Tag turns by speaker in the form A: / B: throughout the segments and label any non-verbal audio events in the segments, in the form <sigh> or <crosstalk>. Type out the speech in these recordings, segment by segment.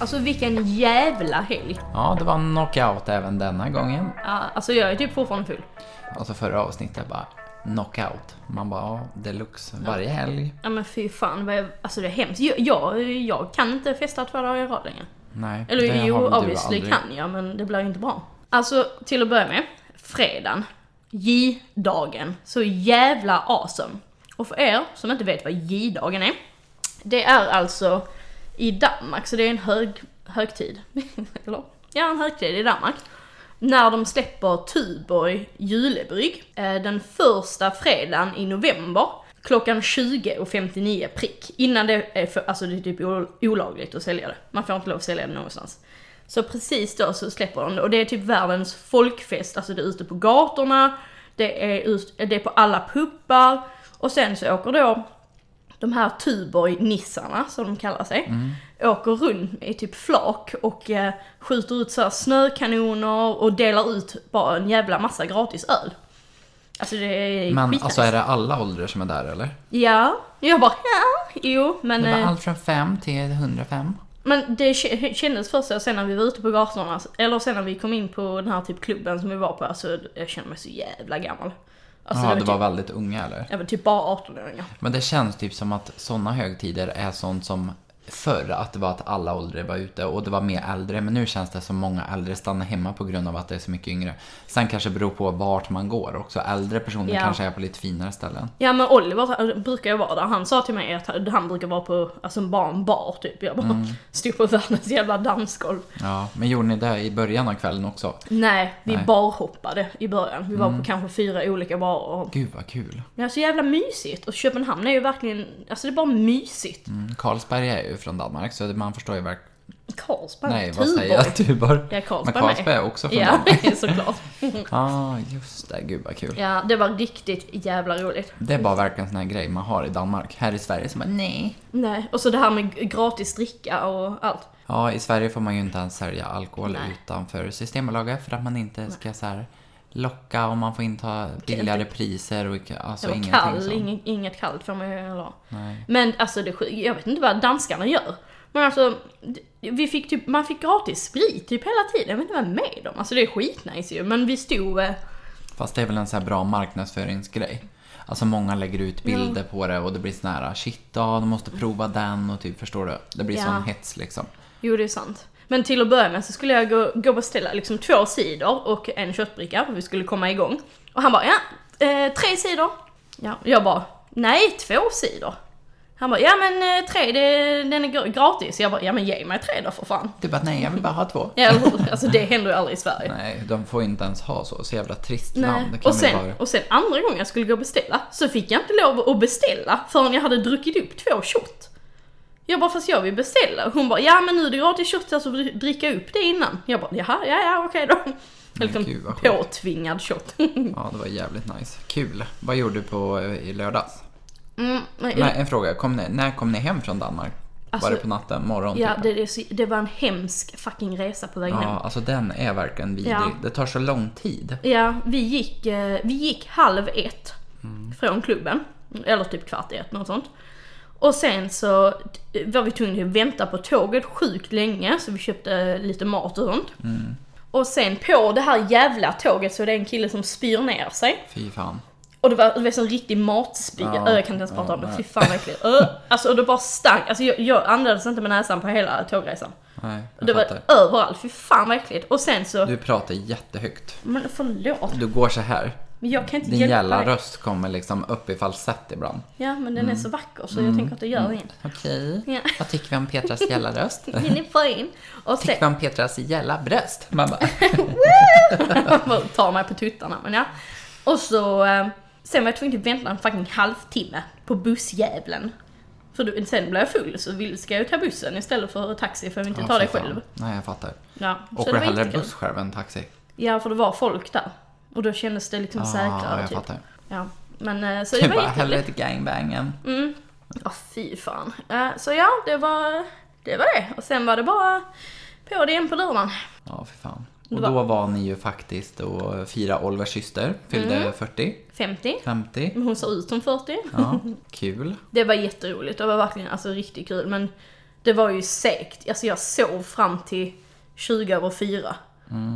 A: Alltså vilken jävla helg.
B: Ja, det var knockout även denna gången.
A: Ja, alltså jag är typ fortfarande full.
B: Alltså förra avsnittet bara knockout. Man bara, ja, deluxe. Varje helg.
A: Ja men fy fan, vad jag, alltså det är hemskt. Jag, jag, jag kan inte festa två dagar i rad längre.
B: Nej,
A: Eller
B: det
A: jo,
B: har väl du
A: obviously
B: aldrig.
A: kan jag, men det blir ju inte bra. Alltså, till att börja med, fredagen, J-dagen, så jävla awesome. Och för er som inte vet vad J-dagen är, det är alltså i Danmark, så det är en hög, högtid. <laughs> Eller? Ja, en högtid i Danmark. När de släpper Tuborg julebrygg, eh, den första fredagen i november, klockan 20.59 prick. Innan det är, för, alltså det är typ ol- olagligt att sälja det. Man får inte lov att sälja det någonstans. Så precis då så släpper de det och det är typ världens folkfest, alltså det är ute på gatorna, det är, ut, det är på alla puppar och sen så åker då de här Tuborg-nissarna, som de kallar sig,
B: Mm.
A: åker runt i typ flak och eh, skjuter ut så här snökanoner och delar ut bara en jävla massa gratis öl. Alltså det är
B: Men
A: skitnice.
B: alltså är det alla åldrar som är där eller?
A: Ja, jag bara ja, jo, men...
B: Det var
A: eh,
B: allt från 5 till 105.
A: Men det k- kändes först så sen när vi var ute på gatorna, eller sen när vi kom in på den här typ klubben som vi var på, alltså jag kände mig så jävla gammal. Alltså
B: Ja, det
A: typ,
B: var väldigt unga eller?
A: jag var typ bara 18-åringar.
B: Men det känns typ som att sådana högtider är sånt som förr, att det var att alla åldrar var ute och det var mer äldre. Men nu känns det som många äldre stannar hemma på grund av att det är så mycket yngre. Sen kanske det beror på vart man går också. Äldre personer
A: Ja.
B: kanske är på lite finare ställen.
A: Ja men Oliver han brukar ju vara där, han sa till mig att han brukar vara på, alltså bara en bar typ. Jag bara
B: Mm.
A: <laughs> stod på världens jävla dansgolv.
B: Ja, men gjorde ni det i början av kvällen också?
A: Nej, vi
B: Nej. Mm.
A: barhoppade i början. Vi var på kanske fyra olika barer.
B: Gud vad kul.
A: Men det är så jävla mysigt och Köpenhamn är ju verkligen, alltså det är bara mysigt.
B: Mm, Carlsberg är ju från Danmark så det- man förstår ju verkligen...
A: Carlsberg,
B: Nej, vad
A: Tuborg.
B: säger jag? Tuborg.
A: Ja, Carlsberg
B: Men
A: med.
B: Carlsberg är <laughs> också från
A: Ja, <laughs>
B: Danmark.
A: såklart.
B: Ja, ah, just det. Gud vad kul.
A: Ja, det var riktigt jävla roligt.
B: Det är bara verkligen en sån här grej man har i Danmark. Här i Sverige så bara nej.
A: Nej, och så det här med gratis dricka och allt.
B: Ja, i Sverige får man ju inte ens sälja alkohol
A: Nej.
B: utanför Systembolaget för att man inte ska så här locka och man får inte ha billigare priser och alltså
A: Det var
B: ingenting
A: kall,
B: sånt.
A: inget, inget kallt får man ju heller ha.
B: Nej.
A: Men alltså det sjuka, jag vet inte vad danskarna gör. Men alltså, d- vi fick typ, man fick gratis sprit typ hela tiden. Jag vet inte vad jag är med dem. Alltså det är skitnice ju, men vi stod... eh,
B: Fast det är väl en så här bra marknadsföringsgrej. Alltså många lägger ut bilder på det och det blir sån här ah, shit ja, du måste prova den och typ förstår du. Det blir
A: Ja.
B: sån hets liksom.
A: Jo, det är sant. Men till att börja med så skulle jag gå, gå och beställa liksom två sidor och en köttbricka för vi skulle komma igång. Och han bara, ja, eh, tre sidor. Ja, jag bara, nej, två sidor. Han bara, ja men eh, tre, det, den är gr- gratis. Jag bara, ja men ge mig tre då för fan.
B: Du bara Typ nej jag vill bara ha två.
A: Ja, <laughs> eller hur? alltså det händer ju aldrig i Sverige.
B: Nej, de får inte ens ha så. Så jävla trist
A: Nej.
B: land. Det kan
A: Och,
B: vi
A: sen,
B: bara...
A: och sen andra gången jag skulle gå och beställa så fick jag inte lov att beställa förrän jag hade druckit upp två shot. Jag bara, fast jag vill beställa. Och Hon bara, ja men nu är det gratis shot, alltså dri- dricka upp det innan. Jag bara, jaha, ja ja okej då.
B: Men
A: Liksom
B: gud, vad sjukt.
A: påtvingad shot. <laughs>
B: Ja, det var jävligt nice. Kul. Vad gjorde du på eh, i lördags?
A: Mm, men-
B: Nej, en fråga. Kom ni, när kom ni hem från Danmark?
A: Alltså-
B: var det på natten? Morgon?
A: ja,
B: typ?
A: det, det, är så- det var en hemsk fucking resa på vägen
B: ja,
A: hem.
B: alltså den är verkligen vidrig.
A: Ja.
B: Det tar så lång tid.
A: Ja, vi gick, eh, vi gick halv ett
B: Mm.
A: från klubben. Eller typ kvart i ett, något sånt. Och sen så t- var vi tvungna att vänta på tåget sjukt länge, så vi köpte lite mat och sånt.
B: Mm.
A: Och sen på det här jävla tåget så är det en kille som spyr ner sig.
B: Fy fan.
A: Och det var, det var sån riktig matspy.
B: Ja,
A: Ö, jag kan inte ens
B: ja,
A: prata om det.
B: nej.
A: Fy fan vad äckligt. Ö. Alltså och det bara stank. Alltså jag, jag andades inte med näsan på hela tågresan.
B: Nej, jag
A: Det var
B: fattar.
A: överallt. Fy fan vad äckligt. Och sen så...
B: Du pratar jättehögt.
A: Men förlåt.
B: Du går så här.
A: Men jag kan inte
B: Din
A: hjälpa
B: gälla
A: dig.
B: röst kommer liksom upp i falsett ibland.
A: Ja, men
B: Mm.
A: den är så vacker så jag tänker att det gör inget.
B: Okej,
A: Ja.
B: vad tycker vi om Petras gälla röst?
A: Vill ni få in? Och <laughs> sen
B: tycker vi om Petras gälla bröst? Man bara,
A: <laughs> tar mig på tuttarna, men ja. Och så, eh, sen var jag tvungen att vänta en fucking halvtimme på bussjävlen. För då, sen blev jag full så vill, ska jag ju ta bussen istället för taxi för jag vill inte ta det
B: fy fan.
A: själv.
B: Nej, jag fattar.
A: Ja, så
B: Åker
A: det
B: du
A: var
B: hellre
A: inte kul.
B: buss själv än taxi?
A: Ja, för det var folk där. Och då kändes det liksom säkrare
B: Ah, jag
A: typ.
B: fattar.
A: Ja, men eh, så det
B: Du
A: var Mm.
B: bara,
A: jätteroligt.
B: hellre till gangbangen.
A: Ja, fy fan. Eh, Så ja, det var, det var det. Och sen var det bara på det igen på lördagen.
B: Ja, för fan.
A: Det
B: Och
A: var-
B: då var ni ju faktiskt och fira Olivers syster, fyllde
A: Mm.
B: 40,
A: 50.
B: 50.
A: <laughs> Men hon ser ut som 40.
B: Ja, kul.
A: Det var jätteroligt, det var verkligen alltså, riktigt kul. Men Det var ju segt. Alltså jag sov fram till 20 över fyra.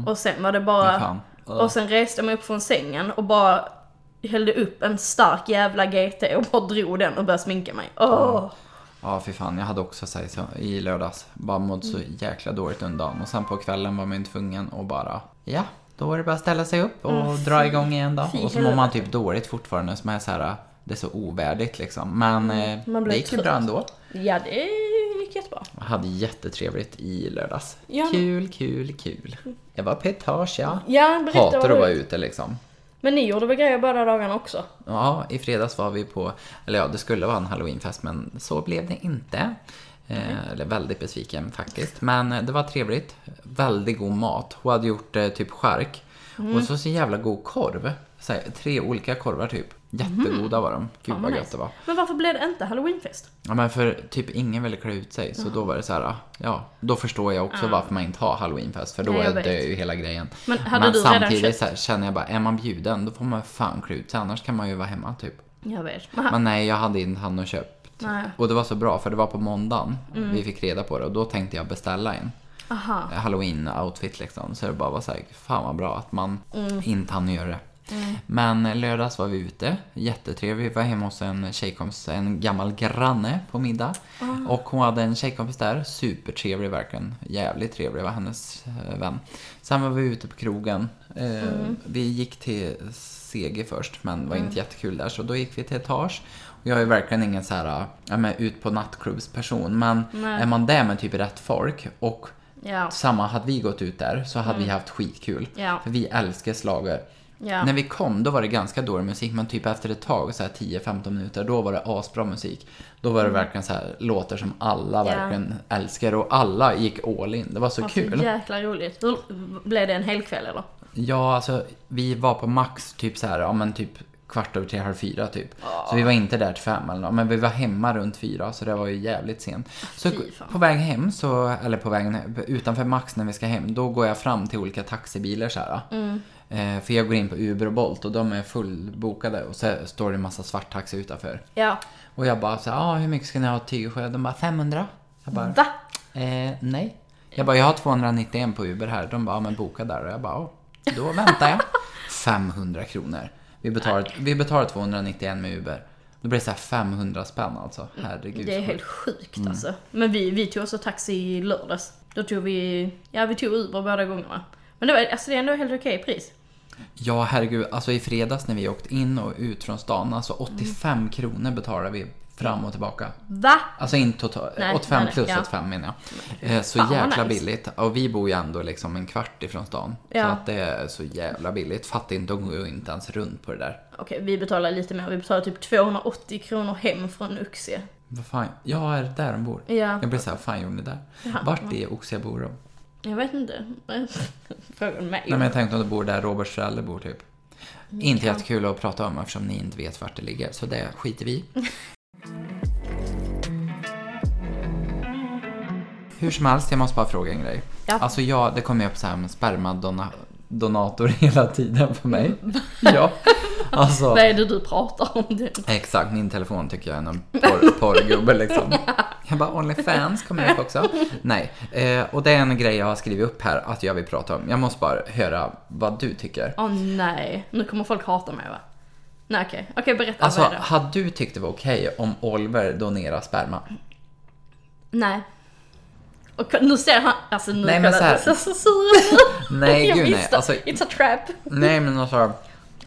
A: Och sen var det bara...
B: Fy fan. Ugh.
A: Och sen reste jag mig upp från sängen och bara hällde upp en stark jävla GT och bara drog den och började sminka mig. Åh!
B: Ja, fy fan. Jag hade också så här, så- i lördags bara mått så
A: Mm.
B: jäkla dåligt under dagen. Och sen på kvällen var man tvungen att bara, ja, då är det bara att ställa sig upp och dra igång igen då.
A: Ah, fy
B: Och så mår man typ dåligt fortfarande som är så här, det är så ovärdigt liksom. Men eh,
A: Mm. man blir
B: det gick ju
A: trött.
B: bra ändå.
A: Ja, det gick jättebra.
B: Jag hade jättetrevligt i lördags.
A: Ja.
B: Kul, kul, kul. Jag var petage, ja.
A: Ja, berätta
B: Hatar
A: vad
B: att
A: du...
B: vara ute liksom.
A: Men ni gjorde väl grejer båda dagarna också?
B: Ja, i fredags var vi på, eller ja, det skulle vara en halloweenfest men så blev det inte. Eh, eller väldigt besviken faktiskt. Men eh, det var trevligt. Väldigt god mat. Hon hade gjort eh, typ skärk.
A: Mm.
B: Och så så jävla god korv. Så här, tre olika korvar typ. Jättegoda var de. Gud
A: Fan, vad
B: vad gött
A: nice.
B: det var.
A: Mhm. Men varför blev det inte halloweenfest?
B: Ja men för typ ingen ville klä ut sig. Så då var det så här, ah, ja. Då förstår jag också varför man inte har halloweenfest. För då
A: Nej, jag
B: är dör
A: vet.
B: ju hela grejen.
A: Men hade du redan
B: samtidigt
A: köpt?
B: så här, känner jag bara, är man bjuden då får man fan klä ut sig. Annars kan man ju vara hemma typ.
A: Jag vet. Men,
B: <laughs> Men nej, jag hade inte han och köpt.
A: Nej.
B: Och det var så bra för det var på måndagen vi fick reda på det och då tänkte jag beställa en
A: aha.
B: halloween-outfit liksom. Så det bara var så här, fan vad bra att man inte hann göra det. Men eh, lördags var vi ute, jättetrevligt. Vi var hemma hos en tjejkompis, en gammal granne på middag. Och hon hade en tjejkompis där, supertrevlig verkligen. Jävligt trevlig var hennes eh, vän. Sen var vi ute på krogen. Eh, Vi gick till CG först, men var inte jättekul där. Så då gick vi till Etage. Och Jag är verkligen ingen så här, ja, men ut på nattklubbsperson. Men
A: Nej.
B: är man där med typ rätt folk och
A: Ja.
B: samma, hade vi gått ut där så hade vi haft skitkul.
A: Mm. Ja.
B: För vi älskar slager.
A: Ja.
B: När vi kom då var det ganska dålig musik men typ efter ett tag, så här 10-15 minuter, då var det asbra musik. Då var det verkligen så här låtar som alla
A: Mm. Ja.
B: verkligen älskar och alla gick all in. Det var så
A: Alltså,
B: kul.
A: jäkla roligt. Hur, blev det en hel kväll eller?
B: Ja, alltså vi var på max typ så här, ja men typ kvart över tre, halv fyra typ.
A: Ah.
B: Så vi var inte där till fem eller nåt, men vi var hemma runt fyra så det var ju jävligt sent. Så
A: Fy fan.
B: på väg hem, så, eller på vägen utanför max när vi ska hem, då går jag fram till olika taxibiler så här.
A: Mm.
B: Eh, för jag går in på Uber och Bolt och de är fullbokade och så står det en massa svarttaxi utanför.
A: Ja.
B: Och jag bara så här, ah, hur mycket ska ni ha tygelsjö? De bara 500. Jag bara,
A: Va?
B: Eh, nej. Jag bara, jag har 291 på Uber här. De bara, ja, men boka där. Och jag bara, "Ja." då
A: <laughs>
B: väntar jag. 500 kronor. Vi betalar, vi betalar 291 med Uber. Då blir det så här 500 spänn alltså. Herregud.
A: Mm, Det är helt sjukt
B: Mm.
A: alltså. Men vi, vi tog också taxi i lördags. Då tog vi, ja vi tog Uber båda gångerna. Men det var, alltså det är ändå helt okej pris.
B: Ja, herregud. Alltså i fredags när vi åkte in och ut från stan, alltså
A: Mm.
B: 85 kronor betalar vi fram och tillbaka.
A: Va?
B: Alltså inte totalt,
A: Nej,
B: 85
A: nej, nej,
B: plus
A: ja.
B: 85 menar jag. Eh, Så
A: Fan, vad
B: jäkla
A: nice.
B: billigt. Och vi bor ju ändå liksom en kvart ifrån stan.
A: Ja.
B: Så att det är så jävla billigt. Fattar inte, de går ju inte ens runt på det där.
A: Okej, vi betalar lite mer. Vi betalar typ 280 kronor hem från Uxie.
B: Vad fan, ja är det där de bor?
A: Ja.
B: Jag blir såhär, vad fan gjorde ni där?
A: Jaha.
B: Vart i Oxie bor de?
A: Jag vet inte. <laughs> Frågar du mig?
B: Nej men jag tänkte om de bor där Roberts föräldrar bor typ. Inte jättekul att prata om eftersom ni inte vet vart det ligger, så det skiter vi i. Hur som helst, jag måste bara fråga en grej.
A: Ja.
B: Alltså jag, det kommer ju upp så här med spermadonator <laughs> hela tiden för mig. ja. Alltså,
A: Vad är det du pratar om? Det?
B: Exakt, min telefon tycker jag är någon porr,
A: <laughs>
B: porrgubbe liksom. Jag bara, Onlyfans kommer upp också. Nej, eh, och det är en grej jag har skrivit upp här att jag vill prata om. Jag måste bara höra vad du tycker.
A: Åh nej, nu kommer folk hata mig va? Nej okej, okej berätta
B: Alltså,
A: vad är det?
B: hade du tyckt det var okej om Oliver
A: <laughs>
B: donerar sperma?
A: Nej. Och ko- nu ser han, alltså nu
B: Nej, men
A: kolla,
B: så här-
A: det ser <laughs> så sur ut.
B: Nej,
A: Jag
B: gud nej.
A: visste,
B: Alltså,
A: It's a trap.
B: nej, men alltså,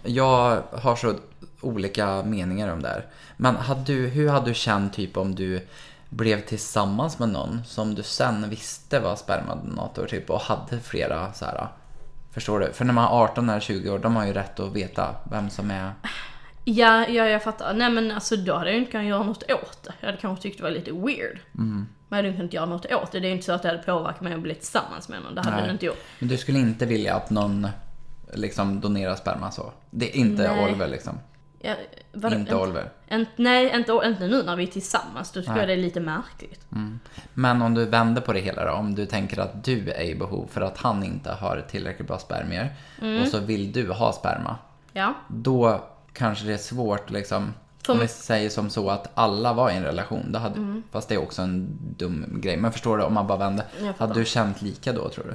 B: jag har så olika meningar om det här. Men hade du, hur hade du känt typ om du blev tillsammans med någon som du sen visste var spermadonator typ och hade flera så här. Förstår du? För när man är 18 eller 20 år, de har ju rätt att veta vem som är...
A: Ja, ja jag fattar. Nej men alltså då hade jag ju inte kunnat göra något åt det. Jag hade kanske tyckt det var lite weird.
B: Mm.
A: Men jag hade ju inte kunnat göra något åt det. Det är ju inte så att det hade påverkat mig att bli tillsammans med någon. Det hade
B: Nej.
A: det inte gjort.
B: Men du skulle inte vilja att någon liksom donerar sperma så? Det är inte
A: Nej.
B: Oliver liksom?
A: Ja, vadå?
B: Inte Oliver?
A: En, nej, inte, inte nu när vi är tillsammans. Då tycker
B: Nej. Mm.
A: jag det är lite märkligt.
B: Men om du vänder på det hela då, om du tänker att du är i behov för att han inte har tillräckligt bra spermier
A: Mm.
B: och så vill du ha sperma.
A: Ja.
B: Då kanske det är svårt liksom.
A: För
B: Om vi
A: mig-
B: säger som så att alla var i en relation, då hade,
A: Mm.
B: fast det är också en dum grej. Men förstår du, om man bara vände.
A: Jag fattar.
B: Hade du känt lika då tror du?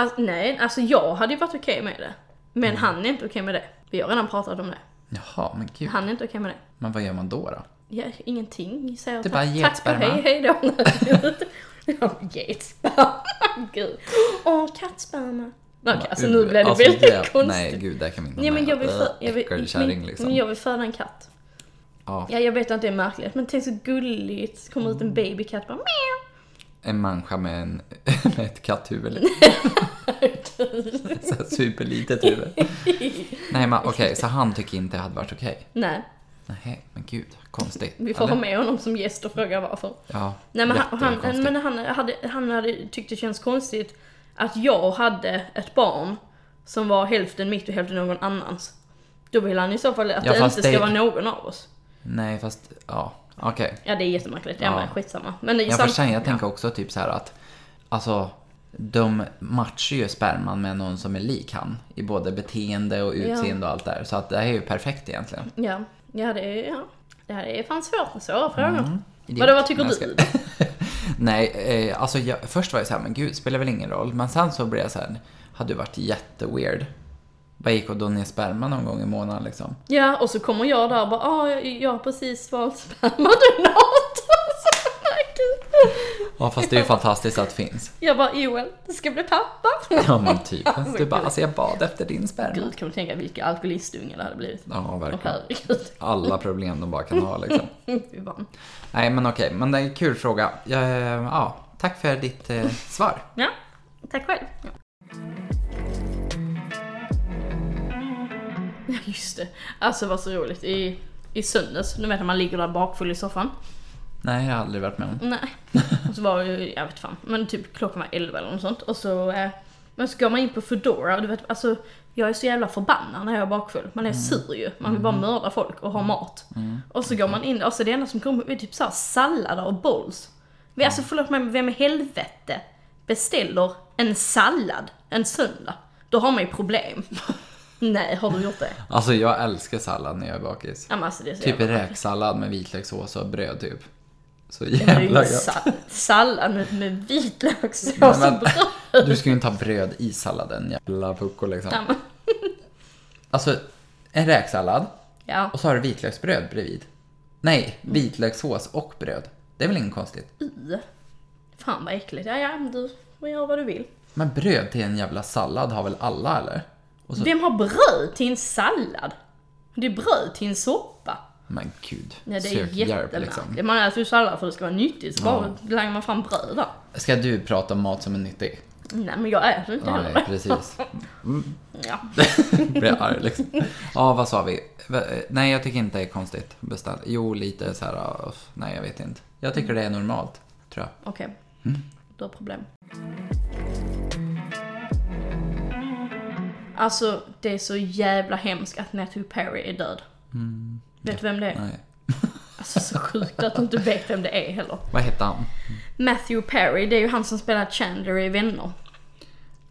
A: Alltså, nej, alltså jag hade ju varit okej med det. Men
B: Mm.
A: han är inte okej med det. Vi har redan pratat om det.
B: Jaha, men gud.
A: Han är inte okej med det.
B: Men vad gör man då då?
A: Ja, ingenting säger
B: Det är
A: jag.
B: bara
A: Tack ska
B: getsperma.
A: hej, hej då. Ja, <laughs> Getsperma, gud. Åh, kattsperma. Okej, alltså nu blev det
B: Alltså,
A: väldigt konstigt.
B: Nej, äh, gud, det kan vi inte
A: Ja, men jag vill,
B: för,
A: för, jag vill,
B: Äckelkärring
A: men-
B: liksom.
A: men jag vill föda en katt.
B: ja,
A: Ja, jag vet att det är märkligt, men tänk så gulligt. Kommer ut
B: Mm.
A: en babykatt bara meow.
B: en människa med, en, <laughs> med
A: <laughs>
B: ett katthuvud. så här superlitet huvud. Nej, men okej, så han tycker inte det hade varit okej?
A: Nej,
B: Nej, men gud, konstigt.
A: vi får
B: Eller?
A: ha med honom som gäst och fråga varför.
B: Ja,
A: Nej men, han, han,
B: jättekonstigt.
A: men han, hade, han hade tyckt det känns konstigt att jag hade ett barn som var hälften mitt och hälften någon annans. Då vill han i så fall att
B: Ja,
A: det
B: fast
A: inte ska
B: det-
A: vara någon av oss.
B: Nej, fast ja, okej.
A: Ja det är jättemärkligt, ja,
B: Ja.
A: men skitsamma. Men det är
B: Jag
A: sam-
B: förstår, jag tänker också typ så här att, alltså, de matchar ju sperman med någon som är lik han i både beteende och utseende och allt där. Så att det här är ju perfekt egentligen.
A: ja. ja, det är, ja. Det här är fan svårt med svåra frågor.
B: Idiot.
A: Vadå, vad tycker
B: Nej, jag
A: du?
B: <laughs> ska- Nej, eh, alltså jag, först var jag så här, men gud, spelar väl ingen roll. Men sen så blev jag så här, hade du varit jätteweird. Bara gick och då ner sperma någon gång i månaden liksom.
A: Ja, och så kommer jag där och bara ah, jag, jag har precis valt <laughs> spermadonator. Så, nej, gud.
B: Ja, fast det är ju fantastiskt att det finns.
A: <laughs> jag bara Joel, du ska bli pappa.
B: <laughs>
A: <laughs>
B: Ja, men typ.
A: Alltså,
B: Du bara,
A: gud.
B: alltså jag bad efter din sperma.
A: Gud, kan du tänka vilka alkoholistungar det hade blivit?
B: Ja,
A: Åh
B: verkligen.
A: herregud.
B: Alla problem de bara kan ha <laughs> liksom.
A: <laughs> Vi vann.
B: Nej men okej, men det är en kul fråga. Ja, ja, tack för ditt eh, svar.
A: Ja, tack själv. Ja. Ja, just det. Alltså vad så roligt. I, i söndags, du vet när man ligger där bakfull i soffan.
B: Nej, jag har aldrig varit med om. <laughs>
A: Nej. Och så var det ju, jag vet fan, men typ klockan var 11 eller något sånt. Och så, eh, men så går man in på Foodora och du vet, alltså jag är så jävla förbannad när jag är bakfull. Man
B: Mm.
A: är sur ju. Man vill bara mörda folk och ha mat. Och så går man in och så det enda som kommer är typ såhär sallader och bowls. Men
B: Mm.
A: alltså förlåt mig, men vem i helvete beställer en sallad en söndag? Då har man ju
B: <laughs>
A: problem. Nej, har du gjort det?
B: Alltså jag älskar sallad när jag är bakis.
A: Ja, men alltså, det är så
B: Typ
A: jävla-
B: räksallad med vitlökssås och bröd typ. Så
A: Det är ju
B: jävla gott.
A: sa- Sallad med, med vitlökssås <laughs>
B: Nej,
A: och
B: men-
A: bröd.
B: Du ska ju inte ha bröd i salladen, jävla pucko liksom.
A: Ja, men-
B: Alltså, en räksallad
A: Ja.
B: och så har du vitlöksbröd bredvid. Nej,
A: Mm.
B: vitlökssås och bröd. Det är väl inget konstigt?
A: I. Fan vad äckligt. Ja, ja, men du får göra vad du vill.
B: Men bröd till en jävla sallad har väl alla eller? Och så,
A: Vem har bröd till en sallad? Det är bröd till en soppa.
B: men gud.
A: Nej, det är
B: sök hjälp
A: jättemärkligt.
B: liksom.
A: Man äter ju sallad för att det ska vara nyttigt, så bara langar man fram bröd där.
B: Ska du prata om mat som är nyttig?
A: Nej men jag äter inte heller
B: Nej,
A: det.
B: precis.
A: <laughs> Ja.
B: Blir arg liksom. Ja, vad sa vi? Va- eh, Nej, jag tycker inte det är konstigt. Bestämt. Jo, lite så här. ah, uff, Nej, jag vet inte. Jag tycker det är normalt, tror jag.
A: Okej.
B: Mm.
A: Du har problem. Alltså, det är så jävla hemskt att Matthew Perry är död. Vet du vem det är?
B: Mm. Nej.
A: Alltså så sjukt att du inte vet vem det är heller.
B: Vad hette han?
A: Matthew Perry, det är ju han som spelar Chandler i Vänner.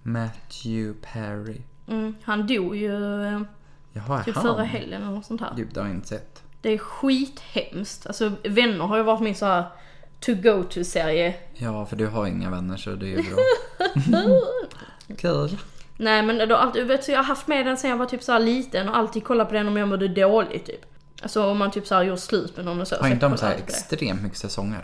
B: Matthew Perry.
A: Mm, han dog ju eh,
B: Jaha,
A: typ
B: han?
A: förra helgen eller något sånt här.
B: Gud, det har jag inte sett.
A: Det är skithemskt. Alltså vänner har ju varit min så här to go to serie.
B: Ja, för du har inga vänner så det är ju bra.
A: <laughs>
B: Kul.
A: Nej men då, alltid, vet, du, jag har haft med den sen jag var typ så här liten och alltid kollat på den om jag mådde dåligt typ. Alltså om man typ så här gjort slut med någon och så.
B: Har inte
A: jag
B: de så här
A: kollar alltid
B: extremt mycket säsonger?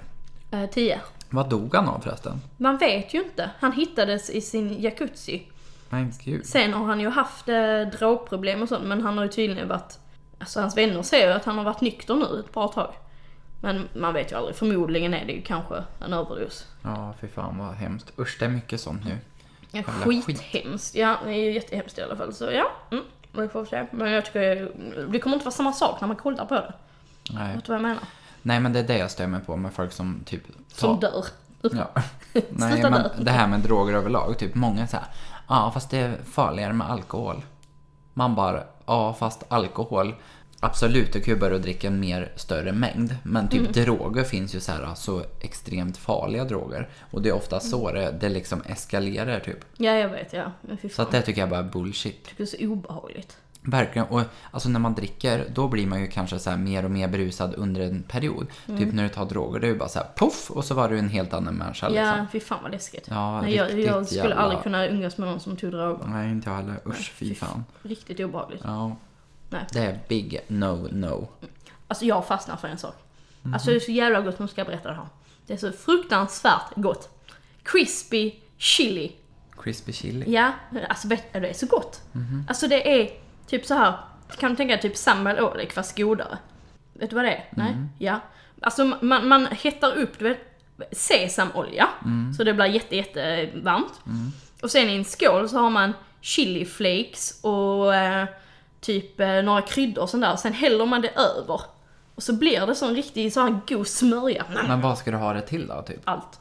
A: på det. Eh, Tio.
B: Vad dog han av förresten?
A: Man vet ju inte. Han hittades i sin jacuzzi.
B: Men gud.
A: Sen har han ju haft eh, drogproblem och sånt men han har ju tydligen varit... Alltså hans vänner säger ju att han har varit nykter nu ett bra tag. Men man vet ju aldrig. Förmodligen är det ju kanske en överdos.
B: Ja, fy fan vad hemskt. Usch, det är mycket sånt nu.
A: Ja,
B: Jävla
A: skithemskt. Ja, det är ju jättehemskt i alla fall. Så ja, mm, vi får se. Men jag tycker det kommer inte vara samma sak när man kollar på det.
B: Nej.
A: Vet du vad jag menar?
B: Nej, men det är det jag stör mig på med folk som typ...
A: Som
B: tar-
A: dör.
B: Ja.
A: <laughs> Sluta
B: Nej,
A: nu.
B: men det här med droger överlag, typ många så här, ja fast det är farligare med alkohol. Man bara, ja fast alkohol, absolut du kan ju börja dricka en mer större mängd, men
A: Mm.
B: typ droger finns ju så här så extremt farliga droger och det är ofta
A: Mm.
B: så det, det liksom eskalerar typ.
A: Ja, jag vet. Ja. Men fy
B: Så
A: fan.
B: att det tycker jag bara är bullshit.
A: Det är så obehagligt.
B: Verkligen. Och alltså när man dricker, då blir man ju kanske så här mer och mer berusad under en period.
A: Mm.
B: Typ när du tar droger, det är ju bara så här poff och så var du en helt annan människa. Liksom.
A: Ja, fy fan vad läskigt.
B: Ja,
A: Nej, jag, jag
B: riktigt
A: skulle
B: jävla-
A: aldrig kunna umgås med någon som tog droger.
B: Nej, inte jag heller. Usch, fy fan.
A: Riktigt obehagligt.
B: Ja.
A: Nej.
B: Det är big no no.
A: Alltså jag fastnar för en sak. Alltså det är så jävla gott, nu ska jag berätta det här. Det är så fruktansvärt gott. Crispy chili.
B: Crispy chili.
A: Ja, alltså vet du, det är så gott. Alltså det är typ så här. kan du tänka dig typ Samuel Ålek fast godare? Vet du vad det är? Nej? Ja. Alltså man, man hettar upp, du vet, sesamolja, så det blir jätte, jätte varmt. Och sen i en skål så har man chili flakes och eh, typ eh, några kryddor och sånt där. Sen häller man det över. Och så blir det sån riktig så här god smörja.
B: Men vad ska du ha det till då, typ?
A: allt.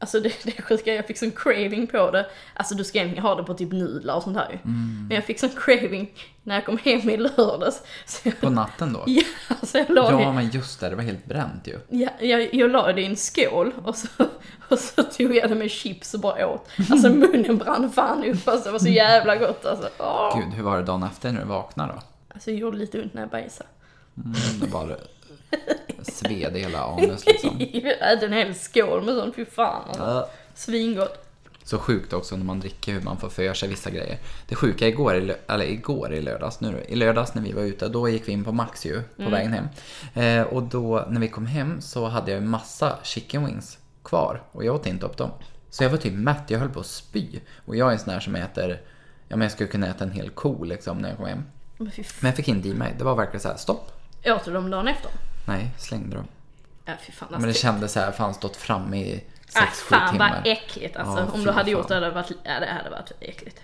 A: Alltså det, det sjuka, är, jag fick sån craving på det. Alltså du ska egentligen ha det på typ nudlar och sånt här ju.
B: Mm.
A: Men jag fick sån craving när jag kom hem i lördags. Så jag,
B: På natten då?
A: ja, alltså jag la
B: Ja,
A: det,
B: men just det, det var helt bränt ju.
A: ja, jag, jag la det i en skål och så, och så tog jag det med chips och bara åt. Alltså munnen brann fan upp alltså, det var så jävla gott alltså. Åh.
B: Gud, hur var det dagen efter när du vaknade då?
A: Alltså det gjorde lite ont när jag bajsade.
B: Mm, det bara
A: <laughs>
B: sved i hela anus liksom.
A: Jag äter en hel skål med sånt, fy fan alltså.
B: Äh.
A: Svingott.
B: Så sjukt också när man dricker hur man får för sig vissa grejer. Det sjuka igår, i lö- eller igår i lördags, nu då, i lördags när vi var ute, då gick vi in på Max ju på
A: Mm.
B: vägen hem. Eh, och då när vi kom hem så hade jag ju massa chicken wings kvar och jag åt inte upp dem. Så jag var typ mätt, jag höll på att spy. Och jag är en sån här som äter, ja men jag skulle kunna äta en hel ko liksom när jag kom hem.
A: Men fy fan.
B: Men jag fick inte i mig, det var verkligen så här: stopp.
A: Åt du dem dagen efter?
B: Nej, slängde dem.
A: Ja fy fan
B: Men
A: alltså.
B: det kändes så här, fan stått framme i
A: Äh,
B: 6-7
A: fan
B: timmar.
A: vad äckligt alltså.
B: Ja,
A: Om
B: fy
A: du hade
B: fan.
A: gjort det hade det varit, ja, det hade varit äckligt.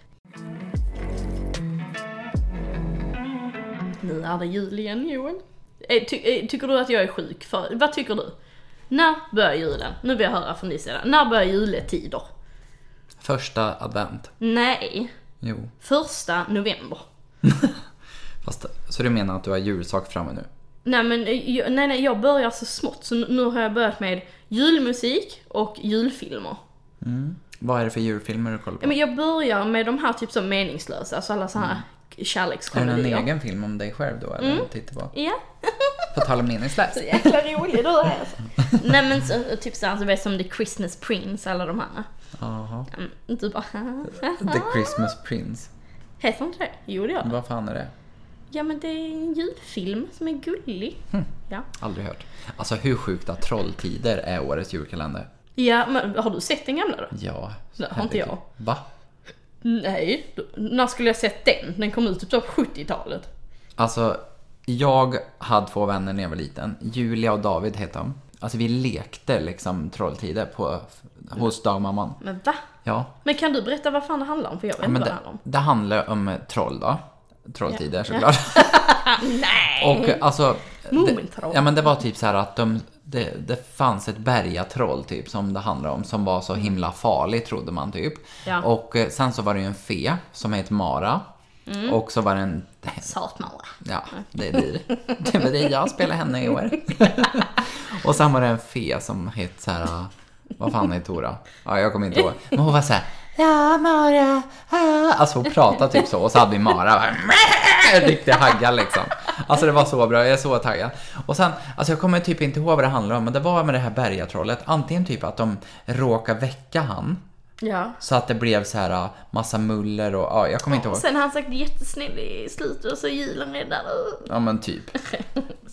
A: Nu är det jul igen Joel. Eh, Ty eh, tycker du att jag är sjuk för? Vad tycker du? När börjar julen? Nu vill jag höra från din sida. När börjar juletider?
B: Första advent.
A: Nej,
B: Jo.
A: första november.
B: Fast, så du menar att du har julsak framme nu?
A: Nej men eh, jag, nej, nej, jag börjar så smått så nu- nu har jag börjat med julmusik och julfilmer.
B: Vad är det för julfilmer du kollar på?
A: Ja, Men jag börjar med de här typ så meningslösa, alltså alla så här
B: Mm. är det någon
A: kärlekskomedier.
B: egen film om dig själv då? Eller
A: Mm.
B: tittar på?
A: Ja.
B: På tal om
A: <laughs>
B: meningslöst.
A: Så jäkla rolig du är alltså. Nej men så, typ såhär, så vet som The Christmas Prince, alla de här.
B: Jaha.
A: Mm, Du bara
B: The Christmas Prince.
A: Heter inte det? Jo det gör det.
B: Vad fan är det?
A: Ja men det är en julfilm som är gullig.
B: Hm.
A: Ja.
B: Aldrig hört. Alltså hur sjukt att Trolltider är årets julkalender?
A: Ja men har du sett den gamla då?
B: Ja.
A: Det har inte
B: herregud.
A: jag.
B: Va?
A: Nej. Du, när skulle jag sett den? Den kom ut typ så på 70-talet.
B: Alltså, jag hade två vänner när jag var liten. Julia och David hette de. Alltså vi lekte liksom Trolltider på, hos dagmamman.
A: Men va?
B: Ja,
A: Men kan du berätta vad fan det handlar om? För jag vet
B: Ja,
A: inte
B: men
A: vad det
B: det,
A: handlar om.
B: det handlar om eh, troll då. Trolltider såklart.
A: Nej!
B: Och eh, alltså... Det,
A: Mumintroll.
B: ja men det var typ så här att de, det, det fanns ett bergatroll typ som det handlade om som var så himla farlig trodde man typ.
A: Ja.
B: Och eh, sen så var det ju en fe som hette Mara. Och så var det en...
A: Satmalla.
B: Ja, det är du. Det var det jag spelade henne i år. Och sen var det en fe som hette så här... eh, Vad fan hette hon då? Ja, jag kommer inte ihåg. Men hon var så här... Ja, Mara. Ah. Alltså hon pratade typ så och så hade vi Mara. Bara, "Mäh!" Riktig hagga liksom. Alltså det var så bra, jag är så taggad. Och sen, alltså jag kommer typ inte ihåg vad det handlar om, men det var med det här bergatrollet. Antingen typ att de råkade väcka han,
A: Ja.
B: så att det blev så här eh, massa muller och ja, jag kommer inte ihåg.
A: Sen har han sagt jättesnäll i slutet och så är julen räddad.
B: Ja
A: <laughs>
B: men typ.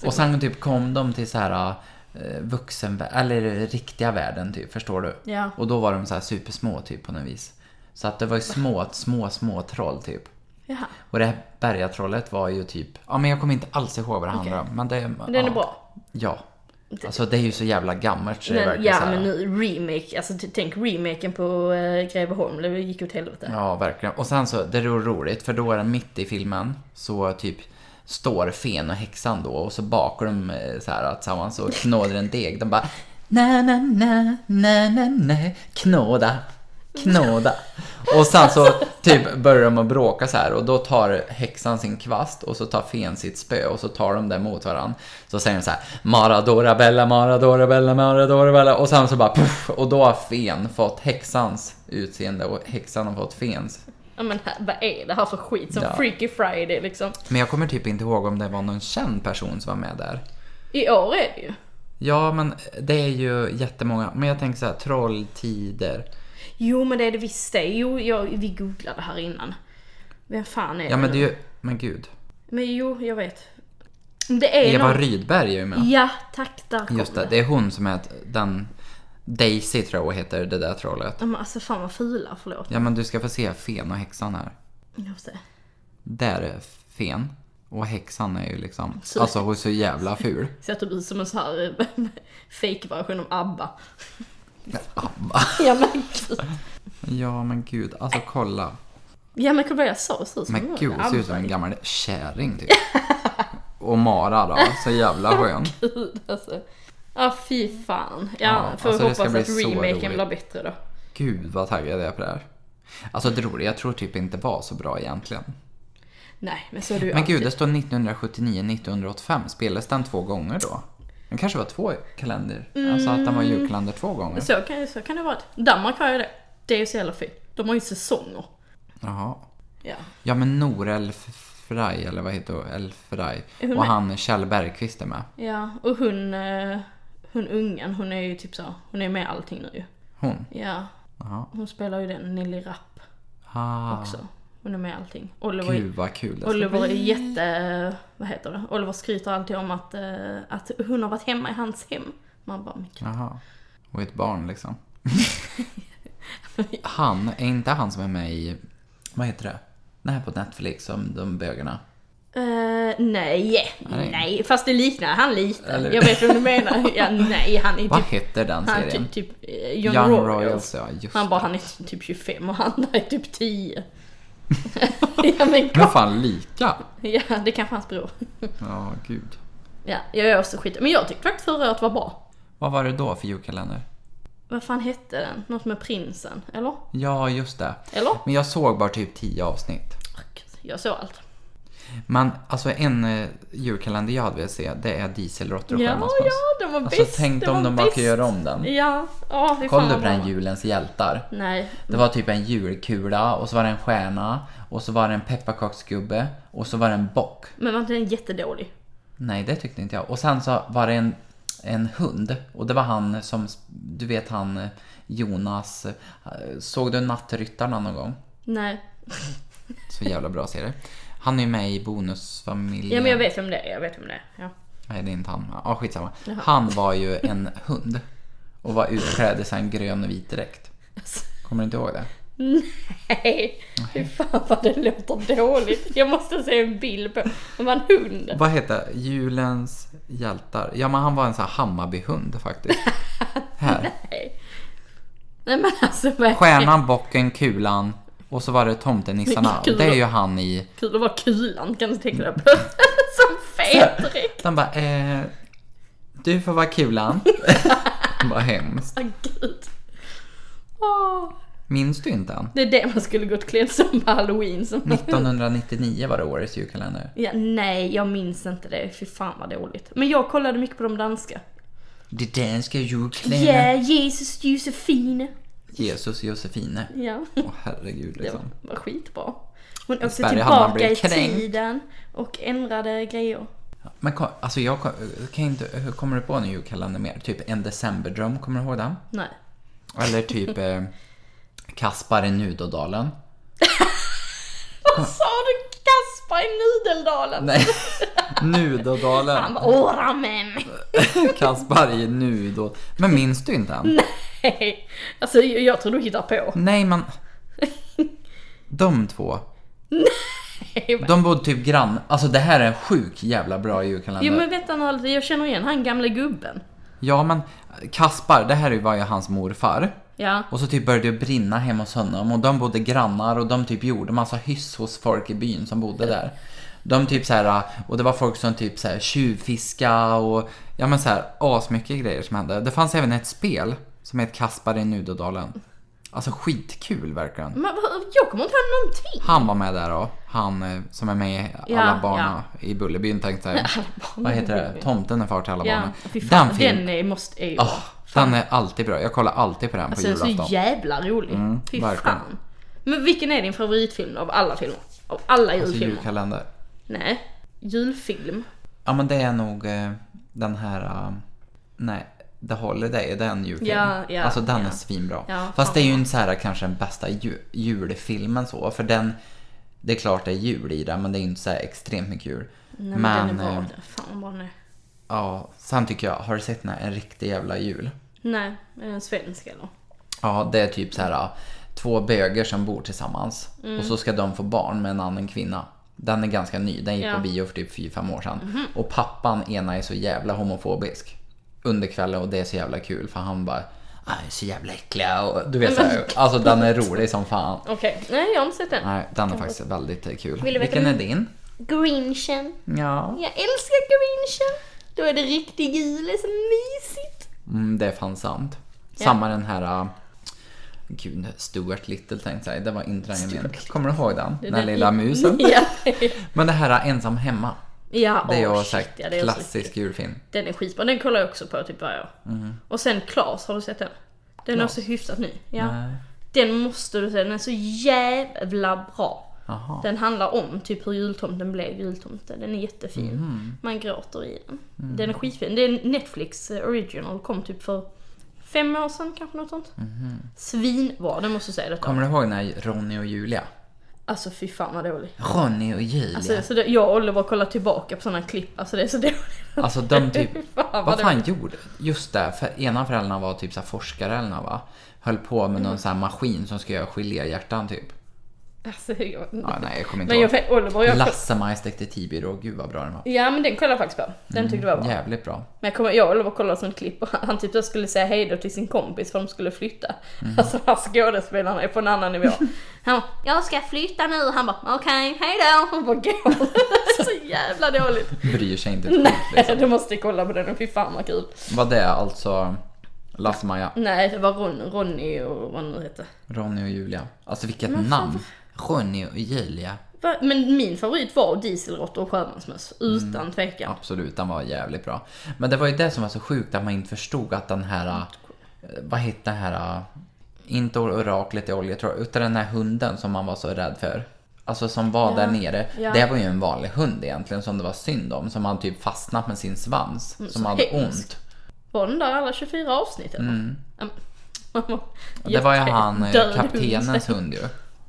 B: och sen typ kom de till så här eh, vuxen eller riktiga världen typ, förstår du?
A: Ja.
B: Och då var de så här supersmå typ på något vis. Så att det var
A: <laughs>
B: ju små, små, små troll typ.
A: Jaha.
B: Och det här bergatrollet var ju typ, ja men jag kommer inte alls ihåg vad det handlar om. Men det,
A: Men den
B: ja.
A: är bra. Typ.
B: Ja. Alltså det är ju så jävla gammalt så det är
A: Men,
B: verkligen
A: ja
B: så här,
A: men nu remake, alltså t- tänk remaken på eh, Greveholm, det gick åt helvete.
B: Ja, verkligen. Och sen så, det är roligt för då är det mitt i filmen så typ står fen och häxan då och så bakar de eh, så här tillsammans och knådar en deg. De bara na na na na na na knåda, knåda. Och sen så typ börjar de att bråka så här och då tar häxan sin kvast och så tar fen sitt spö och så tar de det mot varandra. Så säger de så här Maradora Bella, Maradora Bella, Maradora Bella och sen så bara puff, och då har fen fått häxans utseende och häxan har fått fens
A: ja, men här- vad är det här för skit? Som
B: Ja.
A: Freaky Friday liksom.
B: Men jag kommer typ inte ihåg om det var någon känd person som var med där.
A: I år är det ju.
B: Ja, men det är ju jättemånga. Men jag tänker så här, Trolltider.
A: Jo men det är det visst det. Jo, jag, vi googlade här innan. Vem fan är
B: Ja, men
A: nu?
B: det är ju... Men gud.
A: Men jo, jag vet. Det är
B: Eva
A: någon...
B: Rydberg är ju med.
A: Ja, tack där kom
B: Just det, det är hon som är t- den... Daisy tror jag hon heter, det där trollet.
A: Ja, Men alltså fan vad fula, förlåt.
B: Ja, men du ska få se Fen och Häxan här.
A: Jag måste...
B: Där är Fen. Och häxan är ju liksom...
A: Så-
B: Alltså hon är så jävla ful.
A: Ser typ ut som en sån här <laughs> fake version av ABBA.
B: Abba.
A: Ja men gud.
B: Ja, men gud. Alltså kolla.
A: Ja men kolla jag sa så som
B: Men
A: en
B: gud, hon ser ut som en
A: ABBA.
B: gammal käring typ. Och Mara då, så jävla skön.
A: Gud alltså. Ja fy fan. Ja,
B: Ja,
A: får
B: alltså,
A: vi
B: det ska
A: hoppas
B: bli
A: att
B: så
A: remaken
B: roligt.
A: blir bättre då.
B: Gud vad taggad jag är på det här. Alltså det roliga, jag tror typ inte var så bra egentligen.
A: Nej men så är det ju
B: Men
A: alltid.
B: gud, det står 1979-1985. Spelades den två gånger då? Den kanske var två kalender. Alltså att
A: Mm.
B: den var julkalender två gånger.
A: Så kan, så kan det vara. Danmark har ju det. Det är ju så jävla fint. De har ju säsonger.
B: Jaha.
A: Ja.
B: Ja men Norel Frey, eller vad heter hon? El Frey.
A: Är hon
B: Och
A: med?
B: han Kjell Bergqvist är med.
A: Ja, och hon, eh, hon ungen, hon är ju typ så, hon är med i allting nu ju.
B: Hon?
A: Ja,
B: Jaha.
A: hon spelar ju den Nelly Rapp
B: Ah,
A: också. Hon är med i allting. Oliver,
B: gud vad kul det ska
A: Oliver är jätte, eh, vad heter det? Oliver skryter alltid om att, eh, att hon har varit hemma i hans hem. Man bara, men gud.
B: Jaha. Och ett
A: <laughs>
B: barn liksom. han, är inte han som är med i, vad heter det? Den här på Netflix som de bögarna.
A: Eh, nej,
B: Nej.
A: nej, Fast det liknar han lite.
B: Eller-
A: Jag vet vad du
B: <laughs>
A: menar. Ja, nej, han är
B: Vad
A: typ,
B: heter den
A: han är
B: serien?
A: typ, typ eh,
B: Young,
A: John Royals.
B: ja just
A: Han bara,
B: det.
A: han är typ 25 och han är typ
B: <laughs>
A: 10. ja men
B: De är
A: gud.
B: fan lika.
A: Ja, det kanske hans bror.
B: Ja, gud.
A: Ja, jag är också skit. Men jag tyckte faktiskt förra året var bra.
B: Vad var det då för julkalender?
A: Vad fan hette den? Något med prinsen, eller?
B: Ja, just det.
A: Eller?
B: Men jag såg bara typ tio avsnitt.
A: Åh, gud, Jag såg allt.
B: Men alltså en eh, julkalender jag hade velat se, det är Dieselråttor och
A: Ja,
B: sjömansmöss.
A: ja, den var
B: Alltså
A: bäst.
B: tänk
A: den
B: om
A: var
B: de bara
A: bäst.
B: kunde göra om den.
A: Ja, ja det
B: Kolla på den julens hjältar.
A: Nej.
B: Det var typ en julkula och så var det en stjärna och så var det en pepparkaksgubbe och så var det en bock.
A: Men var inte den jättedålig?
B: Nej, det tyckte inte jag. Och sen så var det en, en hund och det var han som, du vet han eh, Jonas, eh, såg du Nattryttarna någon gång?
A: Nej.
B: Så jävla bra serie. Han är ju med i Bonusfamiljen.
A: Ja men jag vet vem det är, jag vet vem det är. Ja.
B: Nej, det är inte han. Ja, skitsamma. Han var ju en hund och var utklädd i sån här grön och vit dräkt. Kommer du inte ihåg det?
A: Nej, fy fan vad det låter dåligt. Jag måste se en bild på Det var en hund.
B: Vad heter Julens hjältar? Ja, men han var en sån här Hammarbyhund
A: <laughs>
B: faktiskt. här.
A: Nej. Nej men alltså vad är det?
B: Stjärnan, bocken, kulan och så var det tomtenissarna.
A: Kul.
B: Det är ju han i...
A: Kul att vara kulan kan du tänka dig <laughs> på. Som fet dräkt.
B: Den bara, eh, du får vara kulan. <laughs> Vad hemskt.
A: Ah, gud. Åh.
B: Minns du
A: <laughs>
B: inte han?
A: Det är det man skulle gått klädd som på halloween. Som
B: 1999 var det årets julkalender.
A: ja, nej, jag minns inte det. Fy fan vad dåligt. Men jag kollade mycket på de danska.
B: Det danska julkalendern.
A: Yeah, Jesus Josefine.
B: Jesus Josefine.
A: Ja,
B: Åh herregud
A: det
B: liksom.
A: var, var skitbra. Hon åkte
B: Sverige hade man
A: tillbaka i
B: blivit kränkt.
A: tiden och ändrade grejer.
B: Men kom, alltså jag kom, kan inte, hur kommer du på en julkalender mer? Typ en decemberdröm, kommer du ihåg den?
A: Nej.
B: Eller typ eh, Kaspar i Nudodalen.
A: Vad sa du? Kaspar i Nudeldalen? <laughs>
B: Nej,
A: Han
B: Nudodalen.
A: bara åh ramen.
B: Kaspar i Nudodalen. Men minns du inte han?
A: Nej. <laughs> Alltså jag jag tror du hittar på. <laughs>
B: Nej men. De två. De bodde typ grann. Alltså det här är en sjuk jävla bra julkalender.
A: Jo men vänta nu lite, jag känner igen han gamle gubben.
B: Ja men Kaspar, det här var ju hans morfar.
A: Ja.
B: Och så typ började det brinna hemma hos honom och de bodde grannar och de typ gjorde massa hyss hos folk i byn som bodde där. De typ så här, och det var folk som typ så här tjuvfiska och ja men så här asmycket grejer som hände. Det fanns även ett spel som hette Kaspar i Nudodalen. Alltså skitkul verkligen.
A: Men vad- jag kommer inte ihåg någonting.
B: Han var med där då, han eh, som är med i
A: Ja,
B: Alla barna i Bullerbyn tänkte
A: <laughs>
B: jag. Vad heter det? Tomten är far till alla
A: Ja,
B: barna.
A: fy fan, den,
B: den filmen,
A: är, måste är ju
B: den är alltid bra. Jag kollar alltid på den på
A: alltså, den är
B: julafton. Mm,
A: så jävla rolig. fy
B: verkligen.
A: fan. Men vilken är din favoritfilm av alla filmer? Av alla
B: Alltså
A: julfilmer?
B: julkalender.
A: Nej. Julfilm?
B: Ja men det är nog eh, den här... eh, nej, The Holiday, det är en julfilm.
A: Ja, ja,
B: alltså den
A: ja.
B: är svinbra.
A: Ja,
B: Fast
A: fan
B: det är ju inte så här eh, kanske den bästa ju, julfilmen så, för den... Det är klart det är jul i den, men det är ju inte så här extremt mycket jul.
A: Nej men, den är bra.
B: eh,
A: där. Fan vad den är.
B: ja, sen tycker jag, har du sett den här En riktig jävla jul?
A: Nej, är den svensk eller?
B: Ja, det är typ så här ah, två böger som bor tillsammans och så ska de få barn med en annan kvinna. Den är ganska ny, den gick
A: Ja. Mhm.
B: på bio för typ 4-5 år sedan. Och pappan ena är så jävla homofobisk under kvällen och det är så jävla kul för han bara "Ah, ni är så jävla äckliga och du vet så
A: Mm.
B: här, Alltså den är rolig som fan.
A: Okej, nej jag har inte sett den.
B: Nej, den är faktiskt väldigt eh, kul.
A: Vill du veta
B: Vilken är
A: min?
B: din?
A: Grinchen.
B: Ja.
A: Jag älskar Grinchen. Då är det riktig jul, det är så mysigt.
B: Mm, det är fan sant.
A: Ja.
B: Samma den här... ah, Gud, Stuart Little tänkte jag säga. Det var inte den jag menade. Kommer du ihåg den? Den,
A: Den
B: lilla
A: <laughs>
B: musen.
A: Ja,
B: Men det här Ensam hemma.
A: ja
B: Det är
A: åh,
B: jag
A: shit,
B: sagt,
A: ja, det är också riktigt.
B: klassisk julfilm.
A: Den är skitbra, den kollar jag också på typ varje år.
B: Mm.
A: Och sen Klas, har du sett den? Den är också hyfsat ny. Ja.
B: Nej.
A: Den måste du se, den är så jävla bra.
B: Jaha.
A: Den handlar om typ hur jultomten blev jultomte, den är jättefin. Man gråter i den. Den är skitfin, det är Netflix eh, original, kom typ för fem år sedan kanske något sånt. Svinbra, den måste du säga detta.
B: Kommer du ihåg när Ronny och Julia?
A: Alltså fy fan vad dålig.
B: Ronny och Julia.
A: Alltså,
B: Alltså,
A: så det, jag och Oliver kollar tillbaka på sådana klipp, alltså det är så dåligt.
B: de
A: <laughs>
B: typ...
A: Fy fan vad
B: Vad
A: dåligt.
B: fan gjorde... Just det, för ena föräldrarna var typ så här forskare eller något, va? Höll på med
A: Mm.
B: någon sån här maskin som ska göra geléhjärtan typ.
A: Alltså, jag,
B: Ja, nej, jag kommer inte
A: men jag,
B: ihåg.
A: Oliver och jag
B: Lassemajs detektivbyrå, gud vad bra den var.
A: Ja men den kollade jag faktiskt på. Den tyckte jag var bra.
B: Jävligt bra.
A: Men jag kommer jag och Oliver kollade sånt klipp och han typ då skulle säga hejdå till sin kompis för de skulle flytta.
B: Mm.
A: Alltså han skådespelarna är på en annan nivå. Han bara, jag ska flytta nu. Han bara, okej hejdå. Han bara går. <laughs> så jävla dåligt.
B: <laughs> Bryr sig inte ett skit.
A: Nej, du måste kolla på den och fy fan vad kul.
B: Var det alltså Lasse-Maja,
A: Nej, det var Ron, Ronny och vad han nu hette.
B: Ronny och Julia? Alltså vilket namn! Ronny och Julia.
A: Va? Men min favorit var dieselråttor och sjömansmöss,
B: Mm.
A: utan tvekan.
B: Absolut, den var jävligt bra. Men det var ju det som var så sjukt att man inte förstod att den här, eh, vad hette den här, eh, inte oraklet i olja tror jag, utan den här hunden som man var så rädd för. Alltså som var där nere.
A: ja.
B: Det var ju en vanlig hund egentligen som det var synd om. Som hade typ fastnat med sin svans. som
A: Mm, så
B: hade
A: hemskt.
B: ont.
A: Var den där alla 24 avsnitt eller? Ja, men-
B: Mm. Det var ju han, eh,
A: Död hund.
B: kaptenens hund ju.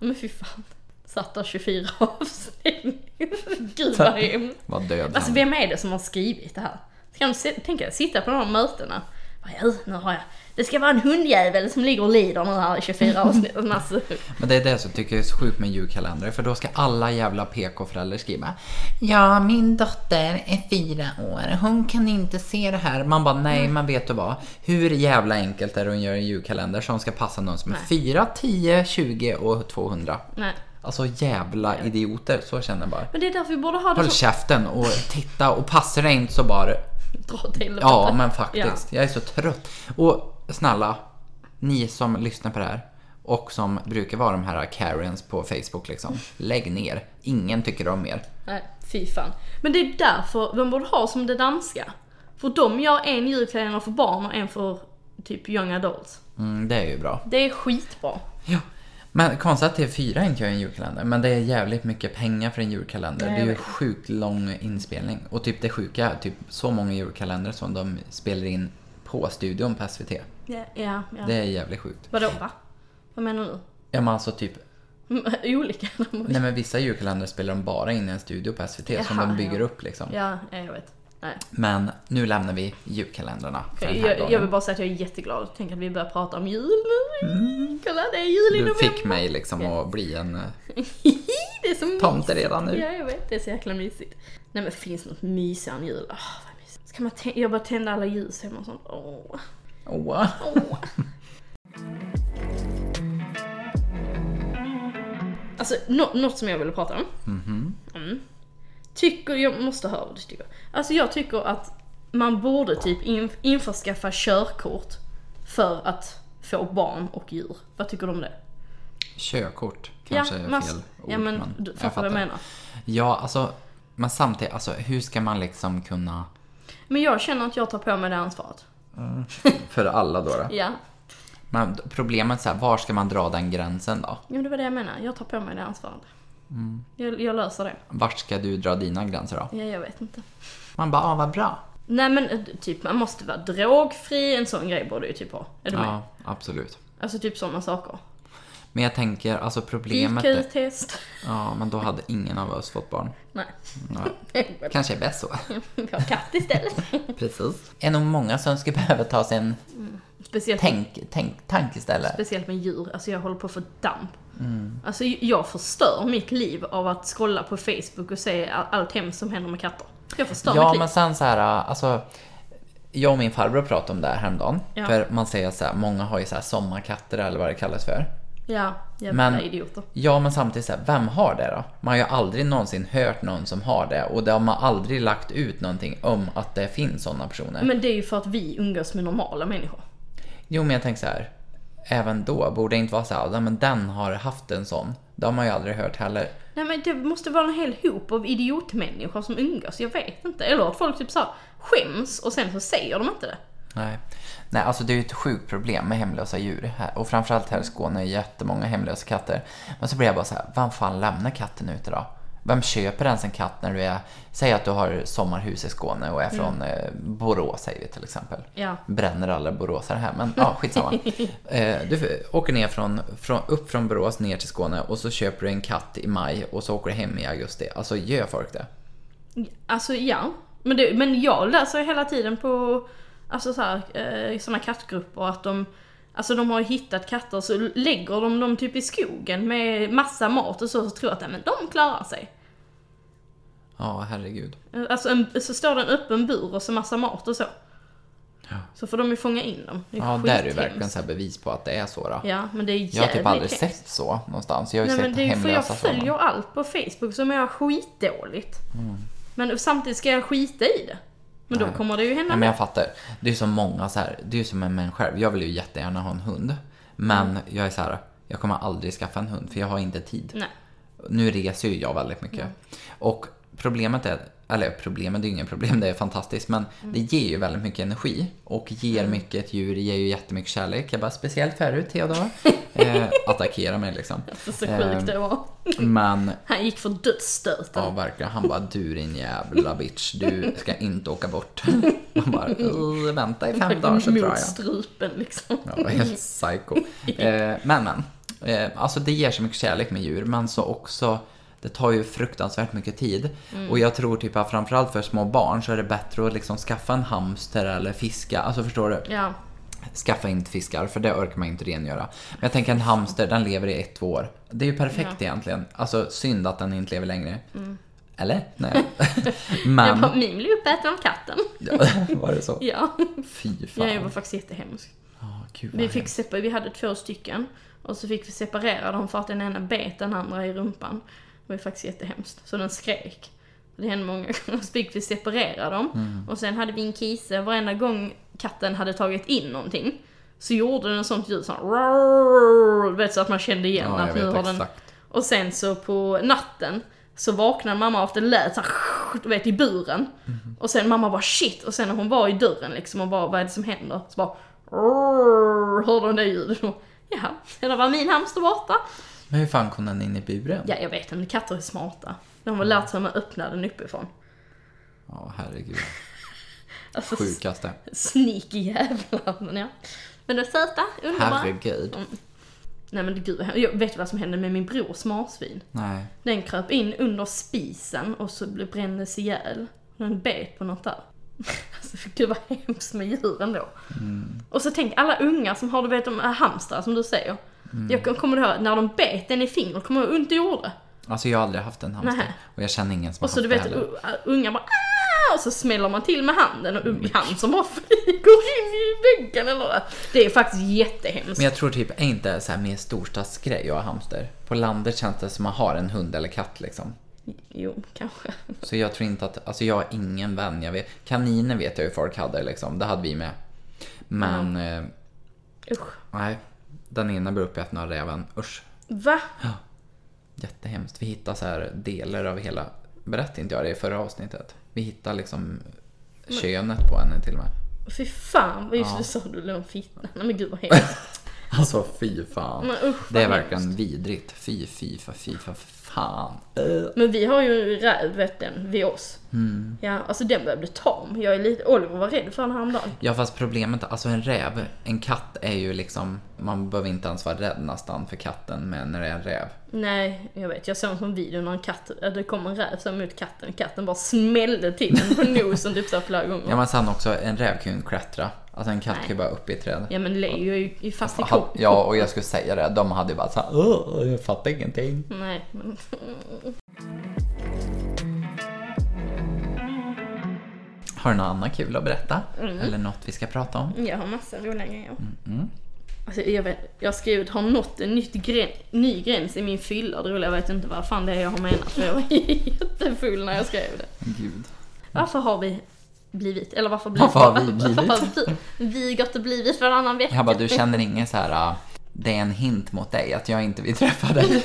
A: Men fy fan. Satt där 24 avsnitt. Gud vad hemskt.
B: Var död
A: Alltså
B: han.
A: vem är det som har skrivit det här? Ska de se- tänka sitta på de här mötena? Vad jag- Nu har jag. Det ska vara en hundjävel som ligger och lider nu här i 24 avsnitt. Men Alltså,
B: Men det är det som tycker jag är så sjukt med julkalendrar för då ska alla jävla PK-föräldrar skriva Ja, min dotter är fyra år, hon kan inte se det här. Man bara, nej men vet du vad? Hur jävla enkelt är det att göra en julkalender som ska passa någon som är 4, 10, 20 och 200?
A: nej.
B: Alltså jävla idioter, så känner jag bara.
A: Men det är därför vi borde ha det
B: Håll
A: så.
B: käften och titta och passar det inte så bara
A: Dra till
B: Ja, men faktiskt. Jag är så trött. Och snälla, ni som lyssnar på det här och som brukar vara de här Karens på Facebook liksom. Lägg ner. Ingen tycker om er.
A: Nej, fy fan. Men det är därför de borde ha som det danska. För de gör en julkalender för barn och en för typ young adults.
B: Mm, det är ju bra.
A: Det är skitbra.
B: Ja. Men konstigt att TV4 inte gör en julkalender, men det är jävligt mycket pengar för en julkalender.
A: Nej,
B: det är
A: jag
B: ju
A: vet.
B: sjukt lång inspelning. Och typ det sjuka är typ så många julkalendrar som de spelar in på studion på SVT.
A: Ja, ja.
B: Det är jävligt sjukt.
A: Vadå va? Vad menar du?
B: Ja men alltså typ
A: Mm, <laughs> Olika?
B: Nej men vissa julkalendrar spelar de bara in i en studio på SVT som
A: Jaha,
B: de bygger
A: ja.
B: upp liksom.
A: ja, ja, jag vet. Nej.
B: Men nu lämnar vi julkalendrarna för den här
A: Jag, jag
B: gången.
A: vill bara säga att jag är jätteglad. Tänk att vi börjar prata om jul nu. Kolla, det är jul i
B: Mm. Du
A: november.
B: fick mig liksom att bli en eh,
A: <laughs> det är så mysigt.
B: tomte redan
A: Ja,
B: nu.
A: jag vet. Det är så jäkla mysigt. Nej men finns något mysigare än jul? Åh, vad mysigt. Ska man tä- jag bara tända alla ljus hemma och sånt. Åh.
B: Åh.
A: Åh. Alltså, nå- något som jag ville prata om.
B: Mm-hmm.
A: Mm. Tycker, jag måste höra vad du tycker. Alltså jag tycker att man borde typ inf- införskaffa körkort för att få barn och djur. Vad tycker du om det?
B: Körkort kanske är
A: man-
B: fel ord.
A: Ja men du
B: jag
A: fattar vad jag menar.
B: Ja alltså, men samtidigt, alltså hur ska man liksom kunna...
A: Men jag känner att jag tar på mig det ansvaret.
B: För alla då? då?
A: Ja.
B: Men problemet är så här, var ska man dra den gränsen då?
A: Jo, det var det jag menade. Jag tar på mig det ansvaret.
B: Mm.
A: Jag, jag löser det.
B: Vart ska du dra dina gränser då?
A: Ja, jag vet inte.
B: Man bara, ah, vad bra.
A: Nej men eh, typ man måste vara drogfri, en sån grej borde ju typ ha. Är du med?
B: Ja, absolut.
A: Alltså typ sådana saker.
B: Men jag tänker, alltså problemet... är-
A: IQ-test.
B: Ja, men då hade ingen av oss fått barn.
A: <laughs> Nej. <laughs>
B: Ja, kanske är bäst så.
A: Vi har katt istället. <laughs>
B: Precis. Det är nog många som skulle <laughs> behöva ta sig en
A: Speciellt,
B: tänk, tänk, tankeställare.
A: speciellt med djur, alltså jag håller på att få damp.
B: Mm.
A: Alltså jag förstör mitt liv av att scrolla på Facebook och se all- allt hemskt som händer med katter. Jag förstör
B: Ja,
A: mitt
B: men
A: liv.
B: sen så här, alltså. Jag och min farbror pratade om det här häromdagen.
A: Ja.
B: För man säger så här, många har ju så här sommarkatter eller vad det kallas för.
A: Ja, jävla
B: men-
A: idioter.
B: Ja, men samtidigt så här, vem har det då? Man har ju aldrig någonsin hört någon som har det och det har man aldrig lagt ut någonting om att det finns sådana personer.
A: Men det är ju för att vi umgås med normala människor.
B: Jo, men jag tänker så här. Även då borde det inte vara så här, "Ja, men den har haft en sån. Det har man ju aldrig hört heller.
A: Nej men det måste vara en hel hop av idiotmänniskor som umgås, jag vet inte. Eller att folk typ såhär skäms och sen så säger de inte det.
B: Nej. Nej, alltså det är ju ett sjukt problem med hemlösa djur här. Och framförallt här i Skåne är jättemånga hemlösa katter. Men så blir jag bara så här, vem fan lämnar katten ute då? Vem köper ens en katt när du är, säg att du har sommarhus i Skåne och är från eh, Borås säger vi till exempel.
A: Ja.
B: Bränner alla boråsare här, men ja, skitsamma. eh, du åker ner från, från, upp från Borås ner till Skåne och så köper du en katt i maj och så åker du hem i augusti. Alltså gör folk det?
A: Alltså ja, men, det, men jag läser hela tiden på alltså så här, eh, såna kattgrupper att de Alltså de har ju hittat katter så lägger de dem typ i skogen med massa mat och så, så tror jag att nej, men de klarar sig.
B: Ja, herregud.
A: Eh, Alltså en, så står det en öppen bur och så massa mat och så. Så får de ju fånga in dem. Det är
B: Ja, där är ju
A: skithemskt.
B: verkligen så här bevis på att det är så då.
A: Ja, men det är jävligt
B: Jag har typ aldrig
A: hemskt.
B: sett så någonstans. Jag har ju
A: Nej men
B: sett
A: det är för jag
B: hemlösa
A: följer
B: sådana.
A: allt på Facebook som jag skitdåligt. Men samtidigt ska jag skita i det. Men då kommer det ju hända
B: Mm. Nej, men jag fattar. Det är ju som många så här. Det är ju som en människa. själv. Jag vill ju jättegärna ha en hund. Men
A: Mm.
B: jag är så här. Jag kommer aldrig skaffa en hund för jag har inte tid.
A: Nej.
B: Nu reser ju jag väldigt mycket.
A: Mm.
B: Och problemet är, eller problemet det är ju inget problem, <laughs> det är fantastiskt. Men
A: Mm.
B: det ger ju väldigt mycket energi. Och ger mycket, ett djur ger ju jättemycket kärlek. Jag bara, speciellt förut
A: <laughs>
B: Theodor. eh, attackera mig liksom. Eh,
A: Så, så sjukt det var.
B: Men
A: Han gick för dödsstöten.
B: Ja, verkligen. Han bara, du din jävla bitch, du ska inte åka bort. <laughs> Man bara, "Eh, vänta i fem dagar så drar
A: Mot
B: jag.
A: strupen liksom.
B: Ja, det var helt psycho. Eh, men, men. Eh, alltså det ger så mycket kärlek med djur, men så också det tar ju fruktansvärt mycket tid. Och jag tror typ att framförallt för små barn så är det bättre att liksom skaffa en hamster eller fiska. Alltså förstår du?
A: Ja.
B: Skaffa inte fiskar, för det orkar man inte rengöra. Men jag tänker en hamster, den lever i ett, två år. Det är ju perfekt egentligen. Alltså synd att den inte lever längre.
A: Mm.
B: Eller?
A: <laughs>
B: Nej.
A: Jag
B: Men...
A: bara, min blev uppäten av katten.
B: <laughs> Var det så?
A: Ja. <laughs>
B: Fy fan.
A: Jag var faktiskt jättehemsk.
B: Ja, gud, vad
A: Vi, fick separ- vi hade två stycken. Och så fick vi separera dem för att den ena bet den andra i rumpan. Det var faktiskt jättehemskt. Så den skrek. Det hände många <laughs> gånger. Så fick vi separera dem. Och sen hade vi en kise. Varenda gång katten hade tagit in någonting så gjorde den sånt ljud som Du vet så att man kände igen
B: Ja, jag
A: att nu
B: vet
A: har den...
B: exakt.
A: Och sen så på natten så vaknade mamma av att det lät såhär, du vet i buren.
B: Mhm.
A: Och sen mamma bara shit, och sen när hon var i dörren liksom och bara vad är det som händer? Så bara "Rrrr", hörde hon det ljudet och jaha, ja, det var min hamster borta.
B: Men hur fan kom den in i buren? Ja,
A: Ja jag vet inte, katter är smarta. De har lärt sig hur man öppnar den uppifrån. <laughs>
B: herregud.
A: Alltså s-
B: Sjukaste.
A: sneaky jävlar. Men ja. Men de är söta, underbara.
B: Herregud.
A: Nej men gud, jag vet du vad som hände med min brors marsvin?
B: Nej.
A: Den kröp in under spisen och så blev- brändes ihjäl. Den bet på något där. <laughs> Alltså för gud vad hemskt med djuren då. Och så tänk alla unga som har, du vet de här hamstrar som du säger. Jag kom- kommer ihåg när de bet den i fingret, kommer du ihåg hur ont det gjorde?
B: Alltså jag har aldrig haft en hamster.
A: Nähä.
B: Och jag känner ingen som
A: Och så
B: har
A: du
B: haft
A: vet uh.
B: det heller.
A: u- unga bara "Ah!" och så smäller man till med handen och ung hand som bara <laughs> flyger in i väggen eller vad. Det är faktiskt jättehemskt.
B: Men jag tror typ, är inte så här mer storstadsgrej att ha hamster? På landet känns det som att man har en hund eller katt liksom.
A: Jo, kanske.
B: Så jag tror inte att, alltså jag har ingen vän. Jag vet, kaniner vet jag hur folk hade liksom, det hade vi med. Men, eh,
A: Usch.
B: nej. Den ena blev uppäten av räven, usch.
A: Va?
B: Jättehemskt. Vi hittade så här delar av hela... Berättade inte jag det i förra avsnittet? Vi hittade liksom könet på henne till och med.
A: Fy fan, vad just det sa du låg en fitta. Nej men gud vad hemskt.
B: Alltså fy fan.
A: Men usch,
B: det är
A: vad
B: verkligen vidrigt. Fy, fy, fa, fy, fa, fan. Eh.
A: Men vi har ju en räv vet den, vid oss. Ja, alltså den börjar bli tam. Jag är lite, Oliver var rädd för den häromdagen.
B: Ja fast problemet, alltså en räv, en katt är ju liksom, man behöver inte ens vara rädd nästan för katten men när det är en räv.
A: Nej, jag vet. Jag såg en sån video när en katt, äh, det kom en räv så mot katten. Katten bara smällde till den på nosen typ så här flera gånger.
B: Ja men sen också, en räv kan ju inte klättra. Alltså en katt kan ju bara upp i ett träd.
A: Ja men Leo är ju är fast i
B: Ha-
A: kroppen.
B: Ja och jag skulle säga det, de hade ju bara såhär, "Åh, jag fattar ingenting.
A: Nej, men...
B: Har du något annat kul att berätta?
A: Mm.
B: Eller något vi ska prata om?
A: Jag har massa roliga grejer. Alltså, jag, vet, jag har skrivit har nått en nytt grän, ny gräns i min fylla. Det roliga, jag vet inte vad fan det är jag har menat. För jag var <laughs> jättefull när jag skrev det.
B: Gud.
A: Varför har vi blivit, eller varför,
B: Varför har vi blivit?
A: <laughs> Varför har vi, vi gått och blivit varannan vecka? typ."
B: Jag bara, du känner ingen så här. ah, det är en hint mot dig att jag inte vill
A: <laughs>
B: träffa dig.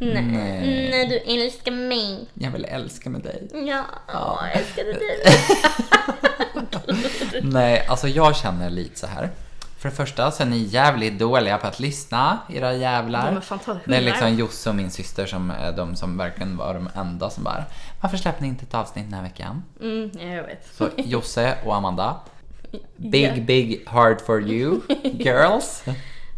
A: Nej.
B: Nej.
A: Nej, du älskar mig.
B: Jag vill älska med dig.
A: Ja,
B: Ja.
A: jag älskade
B: <laughs>
A: dig.
B: Nej, alltså jag känner lite så här. För det första så är ni jävligt dåliga på att lyssna, era jävlar.
A: Ja, men fan, ta
B: det är
A: hundra.
B: liksom Josse och min syster som är de som verkligen var de enda som bara Varför släpper ni inte ett avsnitt den här veckan?
A: Mm, ja, jag vet.
B: Så Josse och Amanda Big
A: Ja.
B: big hard
A: <laughs>
B: for you girls
A: <laughs>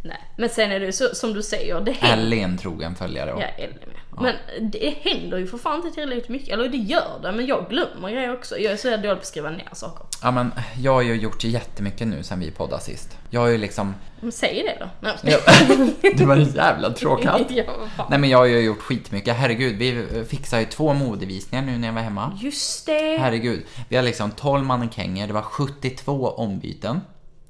A: Nej. Men sen är det ju så, som du säger, det händer.
B: Ellie är en trogen följare och
A: Ja, Ellie med. Men det händer ju för fan inte tillräckligt mycket. Eller det gör det, men jag glömmer grejer också. Jag är så jävla dålig på att skriva ner saker.
B: Ja men jag har ju gjort jättemycket nu sen vi poddade sist Jag har
A: <laughs>
B: ju liksom
A: Men säg det då. Nej, jag
B: Ja, <laughs> Du var en jävla tråkhatt
A: skojar. <laughs> Ja, vad fan.
B: Nej men jag har ju gjort skitmycket, herregud vi eh, fixade ju två modevisningar nu när jag var hemma
A: Just det.
B: Herregud, vi har liksom 12 mannekänger, det var 72 ombyten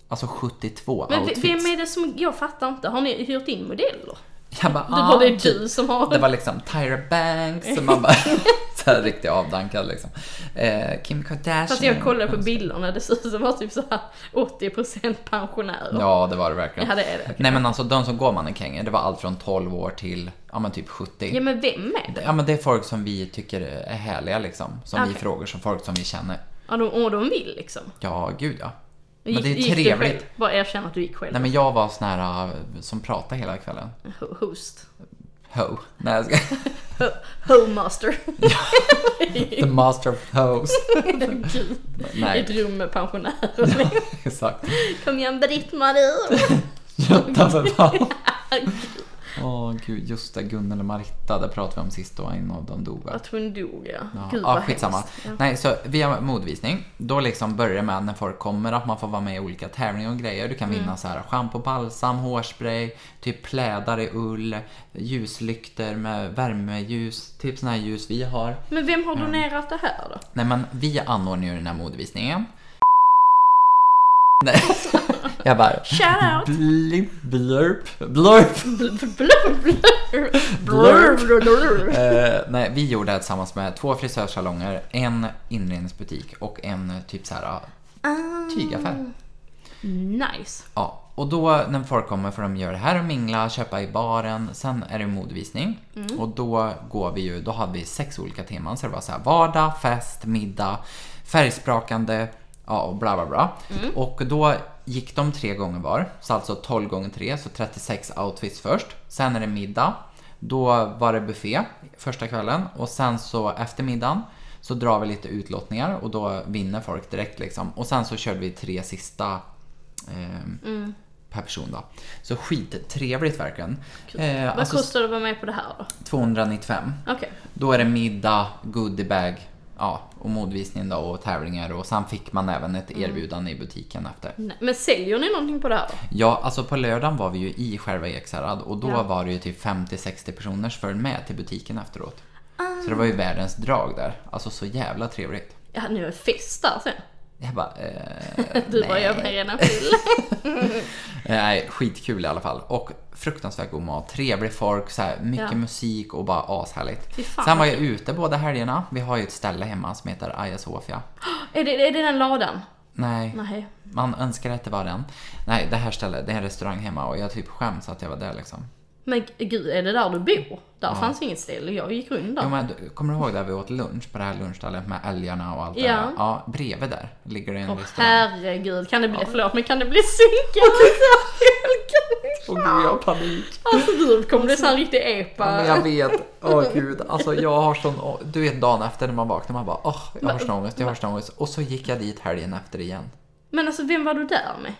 B: Alltså 72
A: Men v-
B: outfits
A: vem är det som, jag fattar inte. Har ni hyrt in modeller?
B: Jag bara,
A: Det var
B: "Ah,
A: det
B: typ."
A: du som har.
B: Det var liksom Tyra Banks och man bara <laughs> så här riktigt avdankad liksom. Eh, Kim Kardashian.
A: Fast jag kollade på bilderna, det ser ut som var typ så här 80% pensionärer.
B: Ja, det var det verkligen.
A: Ja, det är det.
B: Nej men alltså de som går mannekänger, det var allt från 12 år till ja men typ 70.
A: Ja men vem är det?
B: Ja men det är folk som vi tycker är härliga liksom. Som vi
A: Okej.
B: frågar, som folk som vi känner.
A: Ja, de, och de vill liksom.
B: Ja, gud ja. Men
A: Gick-
B: det
A: gick
B: är
A: du själv?
B: trevligt.
A: Bara erkänn att du gick själv.
B: Nej men jag var sån här eh, som pratade hela kvällen.
A: Ho- Host.
B: Ho. Nej jag ska...
A: Ho-
B: <laughs>
A: Homaster.
B: The master of hoes.
A: Gud. I ett
B: Nej, <laughs>
A: rum med pensionärer.
B: exakt.
A: Kom igen Britt-Marie!
B: Jutta
A: <laughs>
B: för fan. Åh gud, just det. Gunnel och Maritta, det pratade vi om sist då, en av dem dog va?
A: Att hon dog ja.
B: Ja,
A: Gud
B: ja
A: vad
B: skitsamma.
A: hemskt. Ja.
B: Nej, så vi har modvisning. Då liksom börjar det med när folk kommer att man får vara med i olika tävlingar och grejer. Du kan vinna så här schampo, balsam, hårspray, typ plädar i ull, ljuslykter med värmeljus, typ såna här ljus vi har.
A: Men vem
B: Mm.
A: har donerat det här då?
B: Nej men vi anordnar ju den här modvisningen. Nej, jag bara...
A: Shoutout!
B: Blip, blurp, blurp.
A: Blur, blur, blur, blur, blur.
B: Eh, nej, vi gjorde det tillsammans med två frisörsalonger, en inredningsbutik och en eh, typ så här ja, tygaffär.
A: Ah, Nice.
B: Ja, och då när folk kommer får de göra det här och mingla, köpa i baren, sen är det modevisning. Och då går vi ju, då hade vi sex olika teman så det var så här vardag, fest, middag, färgsprakande, ja och bla bla bla. Och då gick de tre gånger var, så alltså 12 gånger 3, så 36 outfits först. Sen är det middag, då var det buffé första kvällen och sen så efter middagen så drar vi lite utlottningar och då vinner folk direkt liksom. Och sen så körde vi tre sista ehm, per person då. Så skittrevligt verkligen. Eh,
A: Vad
B: alltså
A: kostar det att vara med på det här då?
B: 295.
A: Okej.
B: Då är det middag, goodiebag, ja, och modvisning då och tävlingar och sen fick man även ett
A: Mm.
B: erbjudande i butiken efter.
A: Nej, Men säljer ni någonting på det här då?
B: Ja, alltså på lördagen var vi ju i själva Ekshärad och då
A: Ja.
B: var det ju typ 50-60 personer som följde med till butiken efteråt.
A: Ah.
B: Så det var ju världens drag där. Alltså så jävla trevligt.
A: Ja, nu är det fest där sen.
B: Jag bara, eh,
A: Du bara, jag blir redan full.
B: Eh, Nej, skitkul i alla fall. Och fruktansvärt god mat, trevlig folk, så här, mycket
A: Ja.
B: musik och bara ashärligt.
A: Fy fan,
B: Sen var
A: vad
B: jag ute båda helgerna. Vi har ju ett ställe hemma som heter Aya Sofia.
A: <laughs> är, det, är det den ladan?
B: Nej,
A: Nej.
B: man önskar att det var den. Nej, det här stället, det är en restaurang hemma och jag typ skäms att jag var där liksom.
A: Men gud, är det där du bor? Där fanns inget ställe, jag gick runt där.
B: Jo, men, du- kommer du ihåg där vi åt lunch på det här lunchstället med älgarna och allt det
A: Ja.
B: där? Ja, bredvid där ligger det en
A: Åh
B: restaurang.
A: herregud, kan det bli, förlåt men kan det bli <laughs> synkade?
B: Åh gud, jag har panik.
A: <laughs> Alltså du kommer bli sån riktig
B: Ja,
A: epa.
B: men jag vet. Åh gud. Alltså jag har sån... åh, Du vet dagen efter när man vaknar, man bara åh, jag har sån ångest, jag har sån ångest. Och så gick jag dit helgen efter igen.
A: Men alltså vem var du där med?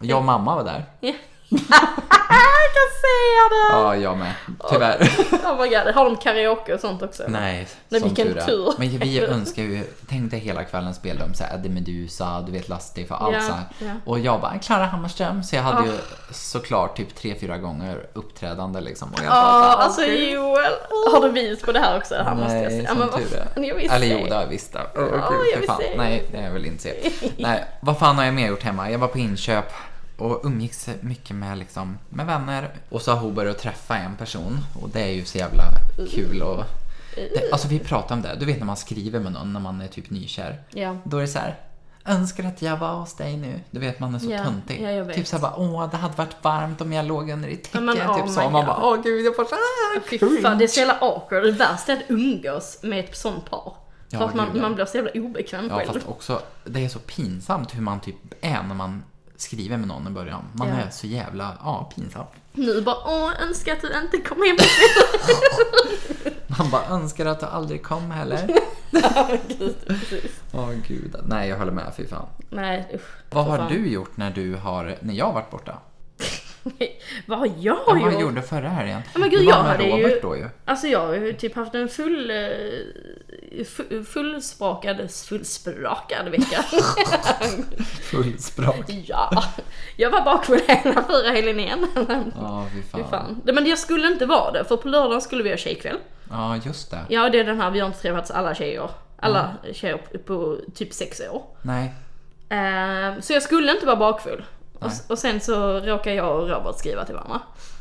B: Jag och mamma var där.
A: Ja. <laughs> jag kan säga det!
B: Ja, jag med. Tyvärr.
A: Oh my god, har de karaoke och sånt också?
B: <laughs> Nej,
A: Men
B: som
A: vilken
B: är.
A: tur.
B: Men vi önskar ju, tänk dig hela kvällen spelade de såhär Eddie Meduza, du vet Lustig för allt
A: Ja,
B: så här.
A: ja. Ah.
B: Och jag bara, Klara Hammarström. Så jag hade ju såklart typ tre, fyra gånger uppträdande liksom. Och jag
A: Ja,
B: bara,
A: alltså Joel. Har du bevis på det här också? Det här måste jag
B: Nej,
A: säga.
B: som
A: men vad
B: tur
A: fan, jag
B: är.
A: visste
B: Eller
A: det.
B: jo, det har jag visst. Åh, gud,
A: jag
B: för
A: vill
B: fan.
A: se.
B: Nej, det vill jag inte se.
A: <laughs>
B: Nej, vad fan har jag mer gjort hemma? Jag var på inköp och umgicks mycket med, liksom, med vänner. Och så har hon börjat träffa en person och det är ju så jävla kul. Och det, alltså vi pratar om det, du vet när man skriver med någon när man är typ nykär.
A: Ja.
B: Då är det så här. Önskar att jag var hos dig nu. Du vet man är så
A: Ja,
B: töntig.
A: ja, jag vet.
B: Typ såhär bara, åh det hade varit varmt om jag låg under ditt täcke.
A: Ja, men,
B: typ
A: oh
B: så.
A: my
B: Och man
A: God.
B: bara, åh gud jag får så här
A: Fy
B: cringe.
A: fan, det är så jävla awkward. Det värsta är att umgås med ett sånt par. För
B: Ja,
A: att man,
B: gud, ja.
A: man blir så jävla obekväm
B: Ja,
A: själv.
B: fast också, det är så pinsamt hur man typ är när man skriver med någon i början. Man
A: Ja.
B: är så jävla, ja, pinsam.
A: Nu bara åh, önskar att du inte kom hem. <laughs>
B: Man bara önskar att du aldrig
A: <laughs>
B: kom heller.
A: Gud, precis.
B: Åh gud, nej jag håller med, fy fan.
A: Nej usch.
B: Vad
A: För
B: har
A: fan.
B: du gjort när du har, när jag har varit borta?
A: Vad har
B: Ja,
A: jag
B: vad
A: gjort?
B: jag gjorde förra helgen?
A: Ja, men gud,
B: Du var
A: jag
B: med
A: hade ju-
B: Robert då ju.
A: Alltså jag har ju typ haft en full... eh, fu- Fullsprakad... Fullsprakad vecka. <laughs>
B: Fullspråk.
A: ja. Jag var bakfull hela förra helgen igen. <laughs>
B: Ja, fy
A: Fy
B: fan.
A: fan. Men jag skulle inte vara det, för på lördagen skulle vi ha tjejkväll.
B: Ja, just det.
A: Ja, det är den här, vi har inte träffats alla tjejer. Alla
B: Mm.
A: tjejer på, på typ sex år.
B: Nej.
A: Ehm, så jag skulle inte vara bakfull. Och, och sen så råkade jag och Robert skriva till varandra.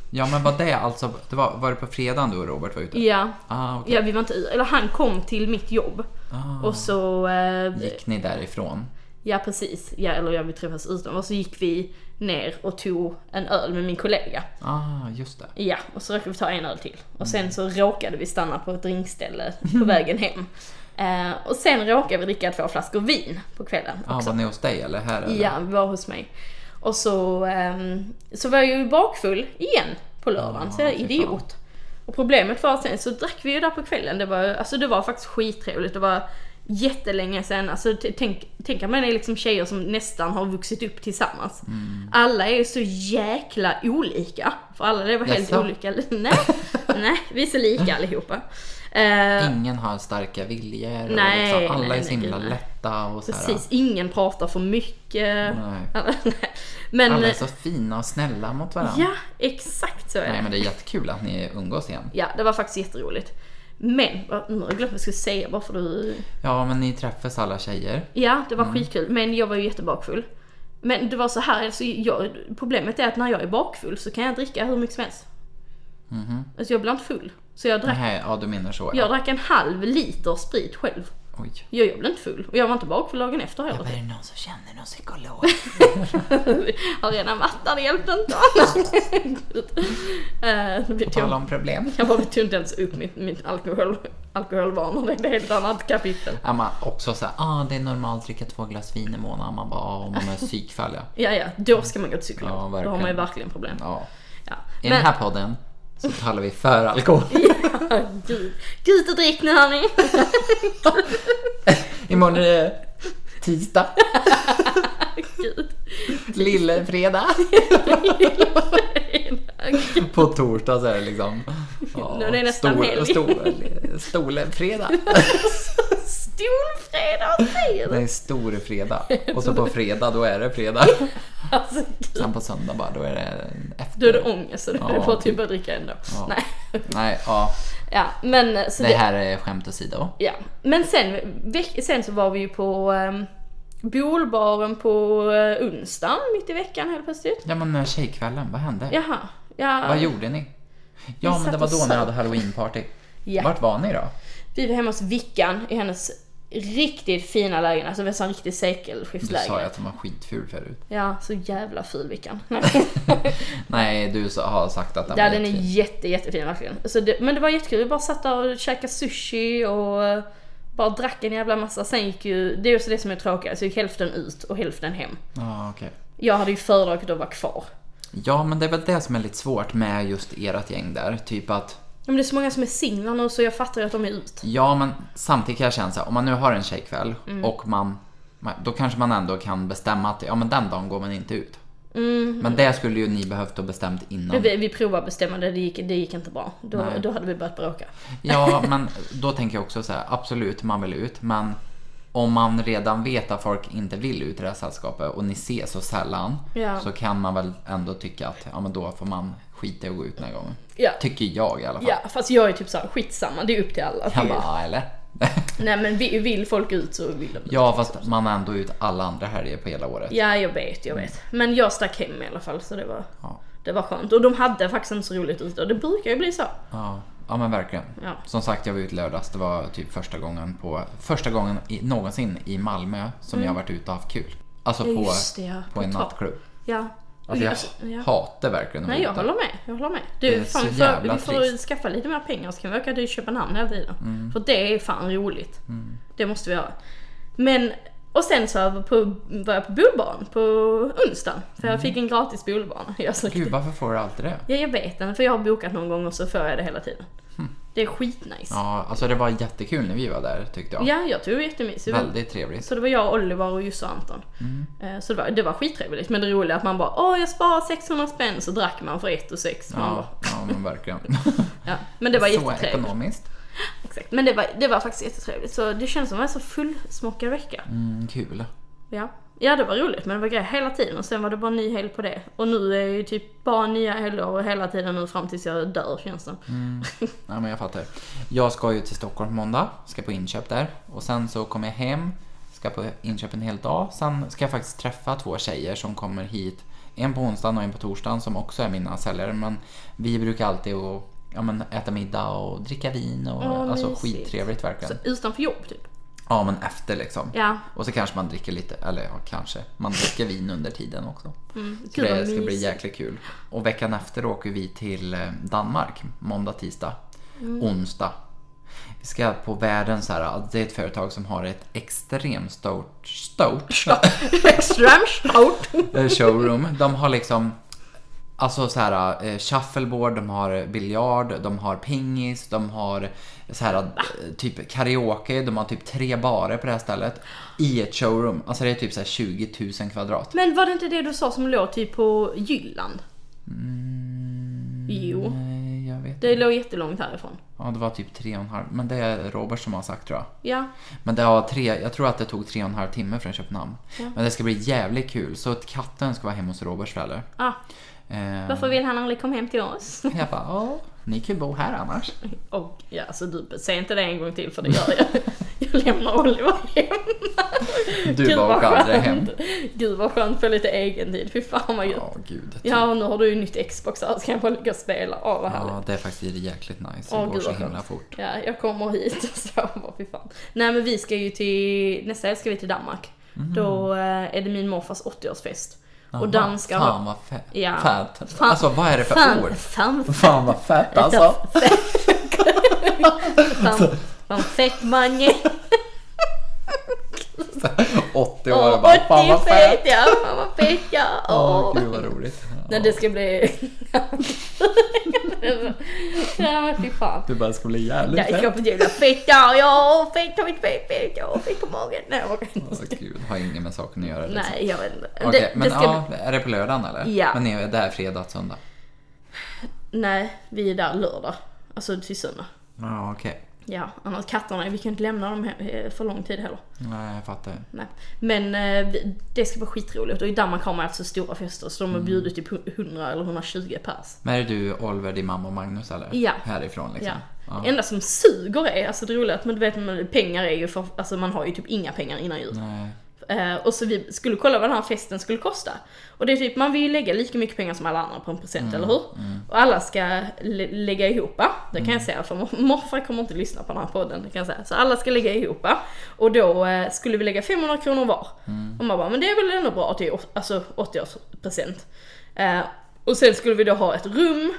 B: Ja, men var det alltså, det var, var det på fredagen du och Robert var ute?
A: Ja,
B: Ah, okej.
A: ja vi var inte i, eller han kom till mitt jobb.
B: Ah,
A: Och så... eh,
B: gick ni därifrån?
A: Ja precis, ja, eller jag vi träffas utanför. Så gick vi ner och tog en öl med min kollega.
B: Ah, just det.
A: Ja, och så råkade vi ta en öl till. Och sen så råkade vi stanna på ett drinkställe på vägen hem. Eh, och sen råkade vi dricka två flaskor vin på kvällen
B: Ah,
A: också.
B: var ni hos dig eller här? Eller?
A: Ja, vi var hos mig. Och så, ehm, så var jag ju bakfull igen på lördagen,
B: Ja,
A: så jag är
B: fy fan.
A: idiot. Och problemet var att sen så drack vi ju där på kvällen, det var, alltså det var faktiskt skittrevligt, det var jättelänge sen, alltså t- tänk, tänk att man är liksom tjejer som nästan har vuxit upp tillsammans.
B: Mm.
A: Alla är ju så jäkla olika, för alla det var helt
B: Jaså?
A: olika. <laughs> nej, nej, vi är så lika allihopa. Eh,
B: Ingen har starka viljor
A: Nej,
B: och liksom alla
A: nej,
B: är så
A: nej,
B: himla
A: gud, nej.
B: lätta och så här.
A: precis, ingen pratar för mycket.
B: Nej.
A: Alla, <laughs> nej. Men,
B: Alla är så fina och snälla mot varandra.
A: Ja, exakt så är
B: Nej
A: det.
B: men det är jättekul att ni umgås igen.
A: Ja, det var faktiskt jätteroligt. Men, vad- nu har jag glömt vad jag skulle säga bara för du...
B: Ja men ni träffas alla tjejer.
A: Ja, det var skitkul, men jag var ju jättebakfull. Men det var så här, alltså jag, problemet är att när jag är bakfull så kan jag dricka hur mycket som helst. Alltså jag blir inte full. Så jag drack,
B: Nej, ja du menar så.
A: jag drack en halv liter sprit själv.
B: Oj.
A: Jag, jag blev inte full. Och jag var inte bakfull dagen efter heller.
B: det någon som känner
A: <laughs>
B: någon psykolog?
A: har redan varit där, det hjälpte inte. <laughs> Eh, det blir
B: Tala om problem.
A: Jag bara tog inte ens upp mitt, mitt alkohol, alkoholvanor, det är ett helt annat kapitel.
B: Ja, man också såhär, ah det är normalt att dricka två glas vin i månaden. Man bara, ah om man är psykfall ja.
A: Ja, ja, då ska man gå till psykolog. då
B: Ja,
A: har man ju
B: verkligen.
A: verkligen problem.
B: ja.
A: Ja.
B: I
A: Men,
B: den här podden så talar vi för alkohol.
A: gud, gå ut och drick nu hörni!
B: Imorgon är det tisdag,
A: Gud.
B: lille fredag. På torsdag så är
A: <laughs>
B: det liksom... Ja,
A: Nu är det nästan helg.
B: Stor, stolefredag.
A: Stolfredag, vad säger du? <laughs>
B: Nej, storfredag. Och så på fredag, då är det fredag.
A: Alltså gud.
B: Sen på söndag bara, då är det efter.
A: Då är det ångest och då är det
B: Ja,
A: bara att
B: typ.
A: börja dricka ändå.
B: Ja.
A: Nej.
B: Nej, ja.
A: Ja, men så
B: Det
A: det,
B: här är skämt åsido.
A: ja. Men sen, veck- sen så var vi ju på um, Bolbaren på eh, onsdagen mitt i veckan helt plötsligt.
B: Ja, men den här tjejkvällen, vad hände?
A: Jaha. Ja,
B: Vad gjorde ni? Ja,
A: satt
B: men det var
A: och
B: då ni
A: söp.
B: hade halloweenparty.
A: Ja.
B: Vart var ni då?
A: Vi var hemma hos Vickan i hennes riktigt fina lägen, alltså nästan riktigt
B: Du sa ju
A: sekelskiftläge.
B: att den var skitful förut.
A: Ja, så jävla ful Vickan.
B: Nej, du sa- har sagt att typ- den
A: Ja
B: var
A: den är
B: jättefin.
A: jätte, jättefin verkligen. Så det, men det var jättekul, vi bara satt där och käkade sushi och eh, bara drack en jävla massa. Sen gick ju, det är också det som är tråkigt, alltså, så gick hälften ut och hälften hem.
B: Ja, okej.
A: Jag hade ju föredragit att vara kvar.
B: Ja, men det är väl det som är lite svårt med just ert gäng där. Typ att,
A: Ja, Men det är så många som är singlar nu så jag fattar ju att de är ut.
B: ja men samtidigt kan jag känna så här, om man nu har en tjejkväll
A: Mm.
B: och man, man, då kanske man ändå kan bestämma att ja men den dagen går man inte ut.
A: Mm.
B: Men det skulle ju ni behövt ha bestämt innan.
A: Vi, vi provade att bestämma det, det gick, det gick inte bra. Då, då hade vi börjat bråka.
B: Ja, men då tänker jag också så här, absolut man vill ut, men om man redan vet att folk inte vill ut i det här sällskapet och ni ses så sällan
A: Ja.
B: så kan man väl ändå tycka att ja men då får man skita i att gå ut den här gången.
A: Ja.
B: Tycker jag i alla fall.
A: Ja, fast jag är typ såhär, skitsamma, det är upp till alla.
B: Jag bara, "Ah, eller? <laughs>
A: Nej men vi- vill folk ut så vill de ut.
B: Ja, fast man har ändå ut alla andra helger på hela året.
A: Ja, jag vet, jag vet. Men jag stack hem i alla fall så det var,
B: Mm. Ja.
A: det var skönt. Och de hade faktiskt inte så roligt ute och det brukar ju bli så.
B: Ja, ja men verkligen.
A: Ja.
B: Som sagt, jag var ute lördags. Det var typ första gången, på, första gången i, någonsin i Malmö som jag varit ute och haft kul. Alltså
A: Mm. Ja,
B: på,
A: just det, ja.
B: på,
A: På
B: en
A: ta-
B: nattklubb.
A: Ja.
B: Alltså jag
A: ja.
B: hatar verkligen att
A: Nej
B: vara
A: jag
B: ute.
A: håller med, jag håller med.
B: Det
A: Du,
B: är
A: fan,
B: så
A: vi
B: jävla
A: får, vi får
B: trist. Mm.
A: skaffa lite mer pengar så kan vi åka till Köpenhamn hela tiden. För det är fan roligt. Det måste vi göra. Men, och sen så var jag på, var jag på bolbarn på onsdagen. För jag fick en gratis bolbarn. <laughs> Jag, är så
B: Mm. Gud,
A: riktigt-
B: varför får du alltid det?
A: ja, jag vet den, för jag har bokat någon gång och så får jag det hela tiden.
B: Hm.
A: Det är skitnice. Ja.
B: Ja, alltså det var jättekul när vi var där tyckte jag.
A: jag tror det var jättemysigt.
B: Väldigt Mm. trevligt.
A: Så det var jag, Oliver och Jussi och Anton. Eh, Så det var, det var skittrevligt. Men det roliga är att man bara åh jag sparar 600 spänn så drack man för ett och sex. Man bara,
B: Ja, ja men verkligen.
A: Ja, men det var
B: <laughs> så
A: jättetrevligt.
B: ekonomiskt.
A: Exakt. Men det var, det var faktiskt jättetrevligt. Så det känns som att jag var så fullsmockad vecka.
B: Mm, kul.
A: Ja. ja, det var roligt men det var grejer hela tiden och sen var det bara en ny helg på det. Och nu är ju typ bara nya helger och hela tiden nu fram tills jag dör känns det
B: Mm. Ja, men jag fattar. Jag ska ju till Stockholm på måndag, ska på inköp där. Och sen så kommer jag hem, ska på inköp en hel dag. Sen ska jag faktiskt träffa två tjejer som kommer hit. En på onsdagen och en på torsdagen som också är mina säljare. Men vi brukar alltid och, ja, men, äta middag och dricka vin. Och,
A: Åh,
B: alltså
A: mysigt.
B: skittrevligt verkligen.
A: Så utanför jobb typ.
B: Ja, men efter liksom.
A: Ja.
B: Och så kanske man dricker lite, eller ja, kanske. Man dricker vin under tiden också. Så
A: Gud, vad
B: det ska bli
A: mysigt.
B: jäkligt kul. Och veckan efter åker vi till eh, Danmark. Måndag, tisdag,
A: Mm.
B: onsdag. Vi ska på världen så här, alltså, det är ett företag som har ett extremt
A: <laughs>
B: stort, stort
A: Extremt stort.
B: <laughs> eh, showroom. De har liksom Alltså så här, eh, shuffleboard, de har biljard, de har pingis, de har så här, eh, typ karaoke, de har typ tre barer på det här stället. I ett showroom. Alltså det är typ så här 20 000 kvadrat.
A: Men var det inte det du sa som låg typ på Jylland? Jo.
B: Nej, jag vet
A: Det låg jättelångt härifrån.
B: Ja, det var typ tre och en halv. Men det är Robert som har sagt tror jag.
A: Ja.
B: Men det var tre, jag tror att det tog tre och en halv timme från Köpenhamn. Men det ska bli jävligt kul. Så att katten ska vara hemma hos Roberts föräldrar.
A: Ah,
B: Eh,
A: varför vill han aldrig komma hem till oss? <laughs>
B: jag bara, ja, ni kan ju bo här annars.
A: Och ja, alltså du, säg inte det en gång till för det gör
B: <laughs>
A: jag. Jag lämnar Oliver hem.
B: Du bara åker aldrig hem.
A: Gud vad skönt för lite egen tid, fy fan vad gött.
B: Ja, gud.
A: Ja, och nu har du ju nytt Xbox här så kan jag bara ligga och spela. Åh vad härligt.
B: Ja, det är faktiskt jäkligt nice.
A: Åh,
B: det går
A: gud,
B: så
A: vad
B: himla
A: skönt.
B: fort.
A: Ja, jag kommer hit och så bara fy fan. Nej men vi ska ju till, nästa helg ska vi till Danmark.
B: Mhm.
A: Då eh, är det min morfars 80-årsfest. Och
B: Jaha,
A: danskar
B: Fan vad fett.
A: Ja.
B: fett.
A: Fan-
B: Alltså vad är det för
A: Fan,
B: ord?
A: fan,
B: Fan vad fett alltså.
A: fan, fan fett manje.
B: 80 år och
A: Åh,
B: bara, fan
A: 80
B: vad
A: fett
B: fett.
A: ja, fan vad fett ja.
B: Åh,
A: Åh.
B: gud vad roligt.
A: Nej det ska bli... <laughs> Nej men fy fan.
B: Du bara, ska bli jävligt
A: Jag ska på jävla fett ja, ja, fett har mitt fett, fett, ja, fett på magen. Nej jag vågar inte.
B: Åh, gud, har inget med saken att göra liksom.
A: Alltså, Nej jag vet inte.
B: Okej,
A: Det,
B: men
A: det ska...
B: ja, är det på lördagen eller?
A: Ja.
B: Men ni är där fredag och söndag?
A: Nej, vi är där lördag. Alltså till söndag.
B: Ja, okej.
A: Ja, annars katterna, vi kan inte lämna dem he- eh, för lång tid heller.
B: Nej, jag fattar.
A: Nej. Men eh, vi- det ska vara skitroligt och i Danmark har man alltså stora fester så de
B: Mm.
A: har bjudit typ 100 eller 120 pers.
B: Men är det du, Oliver, din mamma och Magnus eller?
A: Ja.
B: Härifrån liksom?
A: Ja. Det enda som suger är, alltså det roliga är att man, du vet, men pengar är ju för, alltså man har ju typ inga pengar innan jul.
B: Nej.
A: Eh, och så vi skulle kolla vad den här festen skulle kosta. Och det är typ, man vill ju lägga lika mycket pengar som alla andra på en present, eller hur? Och alla ska lä- lägga ihop. Det kan jag säga, för mor- morfar kommer inte lyssna på den här podden, det kan jag säga. Så alla ska lägga ihop. Och då eh, skulle vi lägga 500 kronor var. Och man bara, men det är väl ändå bra till åt- alltså 80-årspresent. Eh, och sen skulle vi då ha ett rum.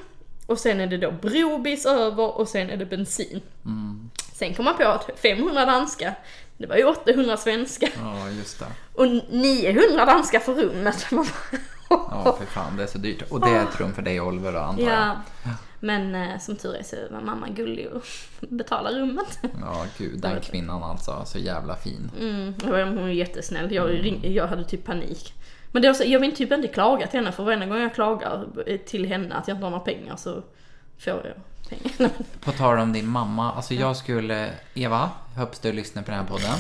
A: Och sen är det då brobis över och sen är det bensin. Sen kom man på att 500 danska, det var ju 800 svenska.
B: Ja, just det.
A: Och 900 danska för rummet. <laughs> Man bara,
B: Ja, för fan, det är så dyrt. Och det är ett rum för dig och Oliver då, antar jag?
A: ja. Men eh, som tur är så var mamma gullig och <laughs> betalade rummet.
B: Ja, gud, den kvinnan alltså. Så jävla fin.
A: Mm, och hon var jättesnäll. Jag, ring, jag hade typ panik. Men det är också, jag vill typ inte klaga till henne för varenda gång jag klagar eh, till henne att jag inte har några pengar så får jag pengar. <laughs>
B: På tal om din mamma, alltså
A: Mm.
B: jag skulle, Eva, hoppas du lyssnar på den här podden.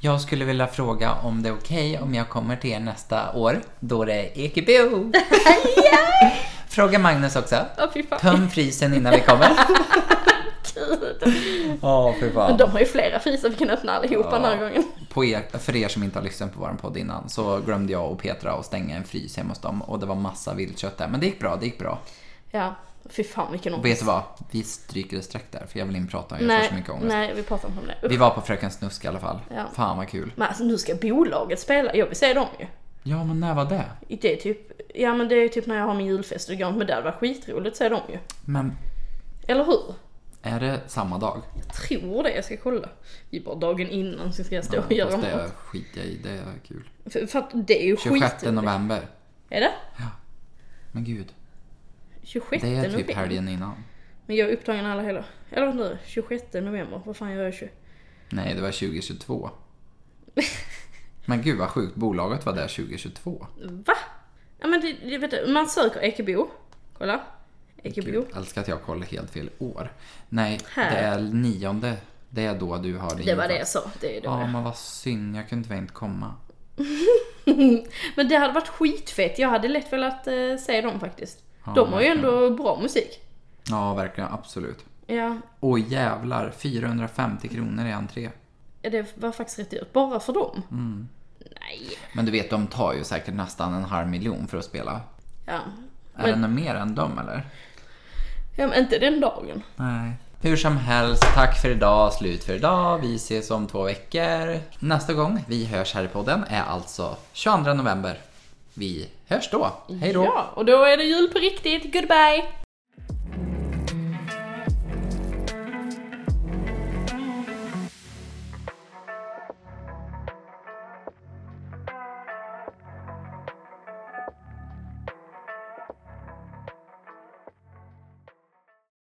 B: Jag skulle vilja fråga om det är okej om jag kommer till er nästa år, då det
A: <laughs>
B: är Ekebo. fråga Magnus också.
A: Åh fy <laughs> fan.
B: Töm frysen innan vi kommer. <laughs> Ja, för fan.
A: De har ju flera frysar vi kan öppna allihopa den här gången.
B: På er, för er som inte har lyssnat på vår podd innan så glömde jag och Petra att stänga en frys hemma hos dem och det var massa viltkött där. Men det gick bra, det gick bra.
A: Ja, fy fan vilken
B: Och
A: ångest.
B: vet du vad? Vi stryker ett streck där för jag vill inte prata om det. Jag får så
A: Nej,
B: mycket ångest.
A: nej, vi pratar inte om det. Usch.
B: Vi var på Fröken Snusk i alla fall.
A: Ja.
B: Fan vad kul.
A: Men alltså nu ska bolaget spela, jag vill se dem ju.
B: Ja, men när var det?
A: Det är typ, ja men det är typ när jag har min julfest och går men det var skitroligt säger de ju.
B: Men
A: Eller hur?
B: är det
A: <laughs>
B: samma dag?
A: Jag tror det, jag ska kolla. Det är bara dagen innan så ska jag stå och
B: Fast
A: göra
B: det
A: mat.
B: skiter jag i, det är kul.
A: För, för att det är ju
B: 26
A: skit.
B: november.
A: Är det?
B: Men gud,
A: 26
B: det är typ
A: november?
B: helgen innan.
A: Men jag är upptagen alla helger. Eller vad nu, 26 november, vad fan gör jag 20?
B: Nej, det var 2022. Men gud vad sjukt, bolaget var där 2022.
A: <laughs> Va? Ja men det, det vet du, man söker Ekebo. Kolla. Ekebo.
B: Gud, älskar att jag kollar helt fel år. Nej,
A: Här.
B: det är nionde. Det är då du har din
A: Det var det
B: julfest.
A: jag sa, det är då
B: Ja,
A: det.
B: men vad synd. Jag kunde väl inte komma.
A: Men det hade varit skitfett, jag hade lätt velat eh, se dem faktiskt. de har ju
B: verkligen.
A: ändå bra musik.
B: Ja, verkligen. Absolut.
A: Ja,
B: Åh jävlar, 450 kronor i entré.
A: det var faktiskt rätt dyrt. Bara för dem? Nej.
B: Men du vet, de tar ju säkert nästan en halv miljon för att spela.
A: Ja.
B: Är det något mer än dem eller?
A: ja, men inte den dagen.
B: Nej. Hur som helst, tack för idag, slut för idag. Vi ses om två veckor. Nästa gång vi hörs här i podden är alltså 22 november. Vi hörs då. Hej då!
A: Ja, och då är det jul på riktigt. Goodbye!